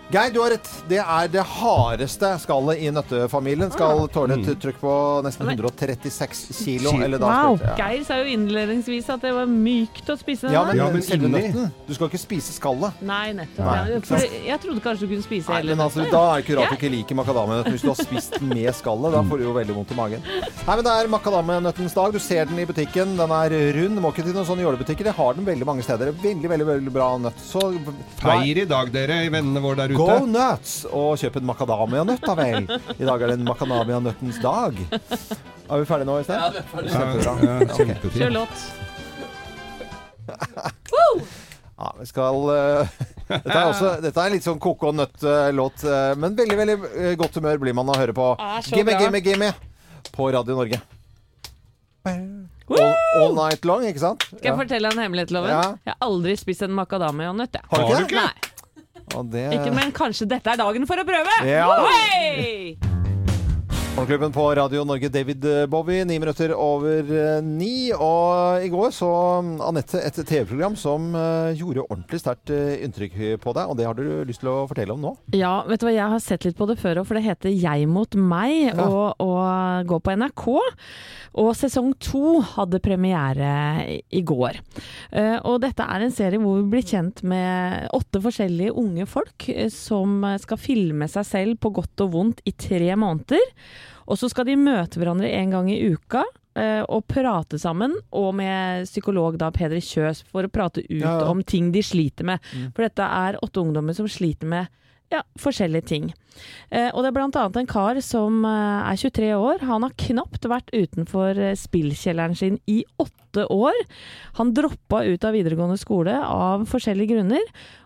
S1: Geir, du har rett. Det er det hardeste skallet i nøttefamilien.
S4: Ah.
S1: Skal tåle et trykk på nesten 136 kilo. Eller da
S4: wow.
S1: sprøyte, ja.
S4: Geir sa jo innledningsvis at det var mykt å spise den
S1: Ja,
S4: der.
S1: men, selve nøtten. Du skal ikke spise skallet.
S4: Nei, nettopp.
S1: Nei.
S4: Ja, For jeg trodde kanskje du kunne spise
S1: Nei,
S4: hele
S1: men altså,
S4: nøtta,
S1: da
S4: ja.
S1: er det ikke rart du
S4: Ja.
S1: ikke liker makadamianøtt. Hvis du har spist med skallet, da får du jo veldig vondt i magen. Nei, men Det er makadamianøttens dag. Du ser den i butikken. Den er rund. Må ikke til noen sånne jålebutikker. Det har den veldig mange steder. Veldig, veldig, veldig bra nøtt. Så
S3: Feir i dag, dere, i vennene våre der ute.
S1: Go nuts og kjøp en makadamianøtt, da vel. I dag er det en makadamianøttens dag. Er vi ferdige nå i sted?
S7: Ja, vi er ferdige.
S1: Kjempebra.
S3: Ja, ja,
S1: Ok.
S3: kjempefint.
S4: Kjør låt.
S1: Ja, vi skal eh, dette, er også, dette er litt sånn koko nøtt-låt, men veldig veldig eh, godt humør blir man av å høre på
S7: Er så
S1: Gimme,
S7: bra.
S1: gimme, gimme på Radio Norge. All, all night long, ikke sant?
S4: Skal jeg fortelle en hemmelighet, Loven?
S1: Ja.
S4: Jeg har aldri spist en macadamia nøtt. jeg.
S1: Har du ikke det?
S4: Nei,
S1: Og det
S4: ikke, men kanskje dette er dagen for å prøve!
S1: Ja.
S4: Hei!
S1: Morgenklubben på Radio Norge, David eh, Bowie, ni minutter over eh, ni. Og i går så mm, Anette et TV-program som eh, gjorde ordentlig sterkt eh, inntrykk på deg, og det har du lyst til å fortelle om nå?
S4: Ja, vet du hva, jeg har sett litt på det før òg, for det heter Jeg mot meg, og, og går på NRK. Og sesong to hadde premiere i- i går. Eh, og dette er en serie hvor vi blir kjent med åtte forskjellige unge folk eh, som skal filme seg selv på godt og vondt i tre måneder. Og så skal de møte hverandre en gang i uka. eh, Og prate sammen, og med psykolog da Peder Kjøs, for å prate ut
S12: Ja, Mm. ja.
S4: om ting de sliter med. For dette er åtte ungdommer som sliter med ja, forskjellige ting. Eh, og det er blant annet en kar som eh, er 23 år. Han har knapt vært utenfor eh, spillkjelleren sin i åtte år. Han droppa ut av videregående skole av forskjellige grunner.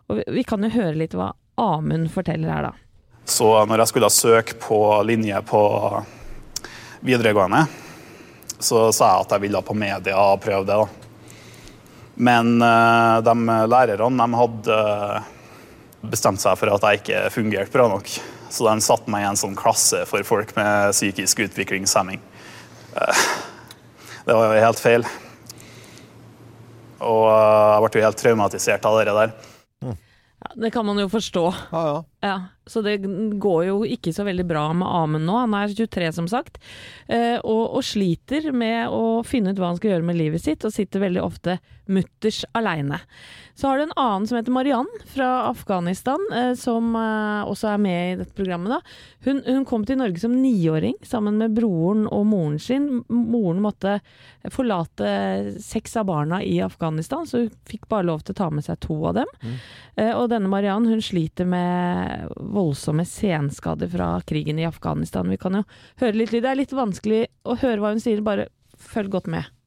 S4: Og vi, vi kan jo høre litt hva Amund forteller her, da.
S13: Så når jeg skulle søke på linje på videregående, så sa jeg at jeg ville på media og prøve det. da. Men eh, de lærerne de hadde eh, bestemt seg for at jeg ikke fungerte bra nok. Så de satte meg i en sånn klasse for folk med psykisk utviklingshemming. Eh, Det var jo helt feil. Og eh, jeg ble jo helt traumatisert av det der.
S4: Ja, det kan man jo forstå.
S1: Ja, ja.
S4: så det går jo ikke så veldig bra med Amund nå. Han er 23, som sagt, eh, og, og sliter med å finne ut hva han skal gjøre med livet sitt, og sitter veldig ofte mutters aleine. Så har du en annen som heter Mariann fra Afghanistan, eh, som eh, også er med i dette programmet. Da. Hun, hun kom til Norge som niåring sammen med broren og moren sin. M- Moren måtte forlate seks av barna i Afghanistan, så hun fikk bare lov til å ta med seg to av dem. Eh, Og denne Mariann hun sliter med voldsomme senskader fra krigen i Afghanistan. Vi kan jo høre litt lyd. Det er litt vanskelig å høre hva hun sier, bare følg godt med.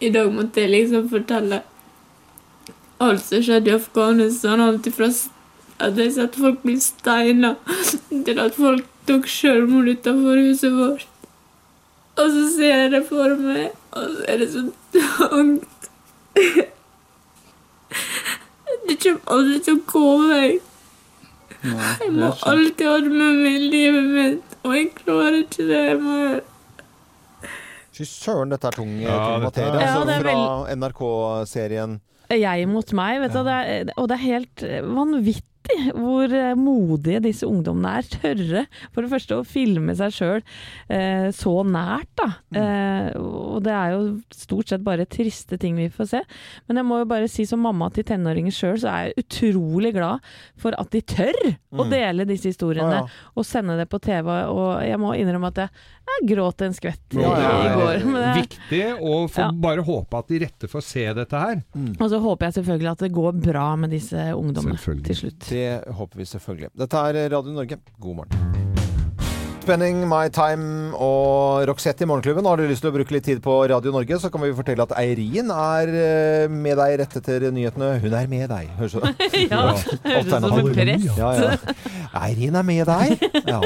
S14: I dag måtte jeg liksom fortelle alt som skjedde i Afghanistan. Alt ifra s- at jeg satt folk bli steina, til at folk tok selvmord utenfor huset vårt. Og så ser jeg det for meg, og så er det sånn <laughs> så tungt. Det kommer aldri til å gå vekk. Jeg må alltid ha det med meg i livet mitt, og jeg klarer ikke det mer.
S1: Fy søren, dette er tung, eh,
S3: Ja,
S1: tung
S3: dette er-
S1: materie.
S4: Ja,
S1: altså,
S4: det er
S1: fra NRK-serien.
S4: Jeg mot meg, vet du. og Det er, og det er helt eh, vanvittig hvor eh, modige disse ungdommene er. Tørre, for det første, å filme seg sjøl eh, så nært, da.
S3: Mm.
S4: Eh, og det er jo stort sett bare triste ting vi får se. Men jeg må jo bare si som mamma til tenåringer sjøl, så er jeg utrolig glad for at de tør å
S12: Mm.
S4: dele disse historiene
S12: Ja, ja.
S4: og sende det på TV. Og jeg må innrømme at jeg, jeg gråt en skvett i,
S3: Ja, ja, ja.
S4: i går. Men det,
S3: Viktig, og får bare håpe at de rette får se dette her.
S4: og så håper jeg selvfølgelig at det går bra med disse ungdommene til slutt.
S1: Det håper vi selvfølgelig. Dette er Radio Norge, god morgen. Spending My Time og Roxette i Morgenklubben. Har du lyst til å bruke litt tid på Radio Norge, så kan vi fortelle at Eirin er eh, med deg rett etter nyhetene. Hun er med deg, høres det
S7: Ja, høres ut som en prest.
S1: Ja, ja. Eirin er med deg, ja.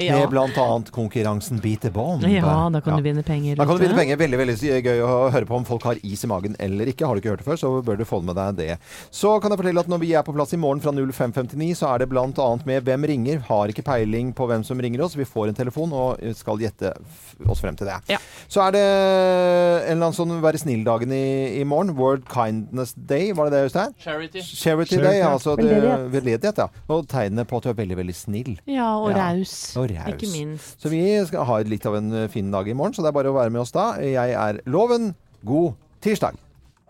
S4: Ja.
S1: Med bl.a. konkurransen Beat the Bond.
S4: Ja, da kan du vinne penger.
S1: Da kan du
S4: vet
S1: vinne penger. Veldig veldig gøy å høre på om folk har is i magen eller ikke. Har du ikke hørt det før, så bør du få med deg det. Så kan jeg fortelle at når vi er på plass i morgen fra 05.59, så er det bl.a. med Hvem ringer? Har ikke peiling på hvem som ringer oss. Vi får en telefon og eh, skal gjette f- oss frem til det. Så er det en eller annen sånn Være snill-dagen i, i morgen. World Kindness Day, var det det, Øystein?
S15: Charity.
S1: Charity Day, ja, altså det,
S15: Veldedighet.
S1: veldedighet. Ja. Og tegnene på at du er veldig, veldig snill.
S4: Ja, og raus.
S1: Og raus.
S4: Ikke minst.
S1: Så vi eh, skal ha litt av en fin dag i morgen, så det er bare å være med oss da. Jeg er Loven. God tirsdag!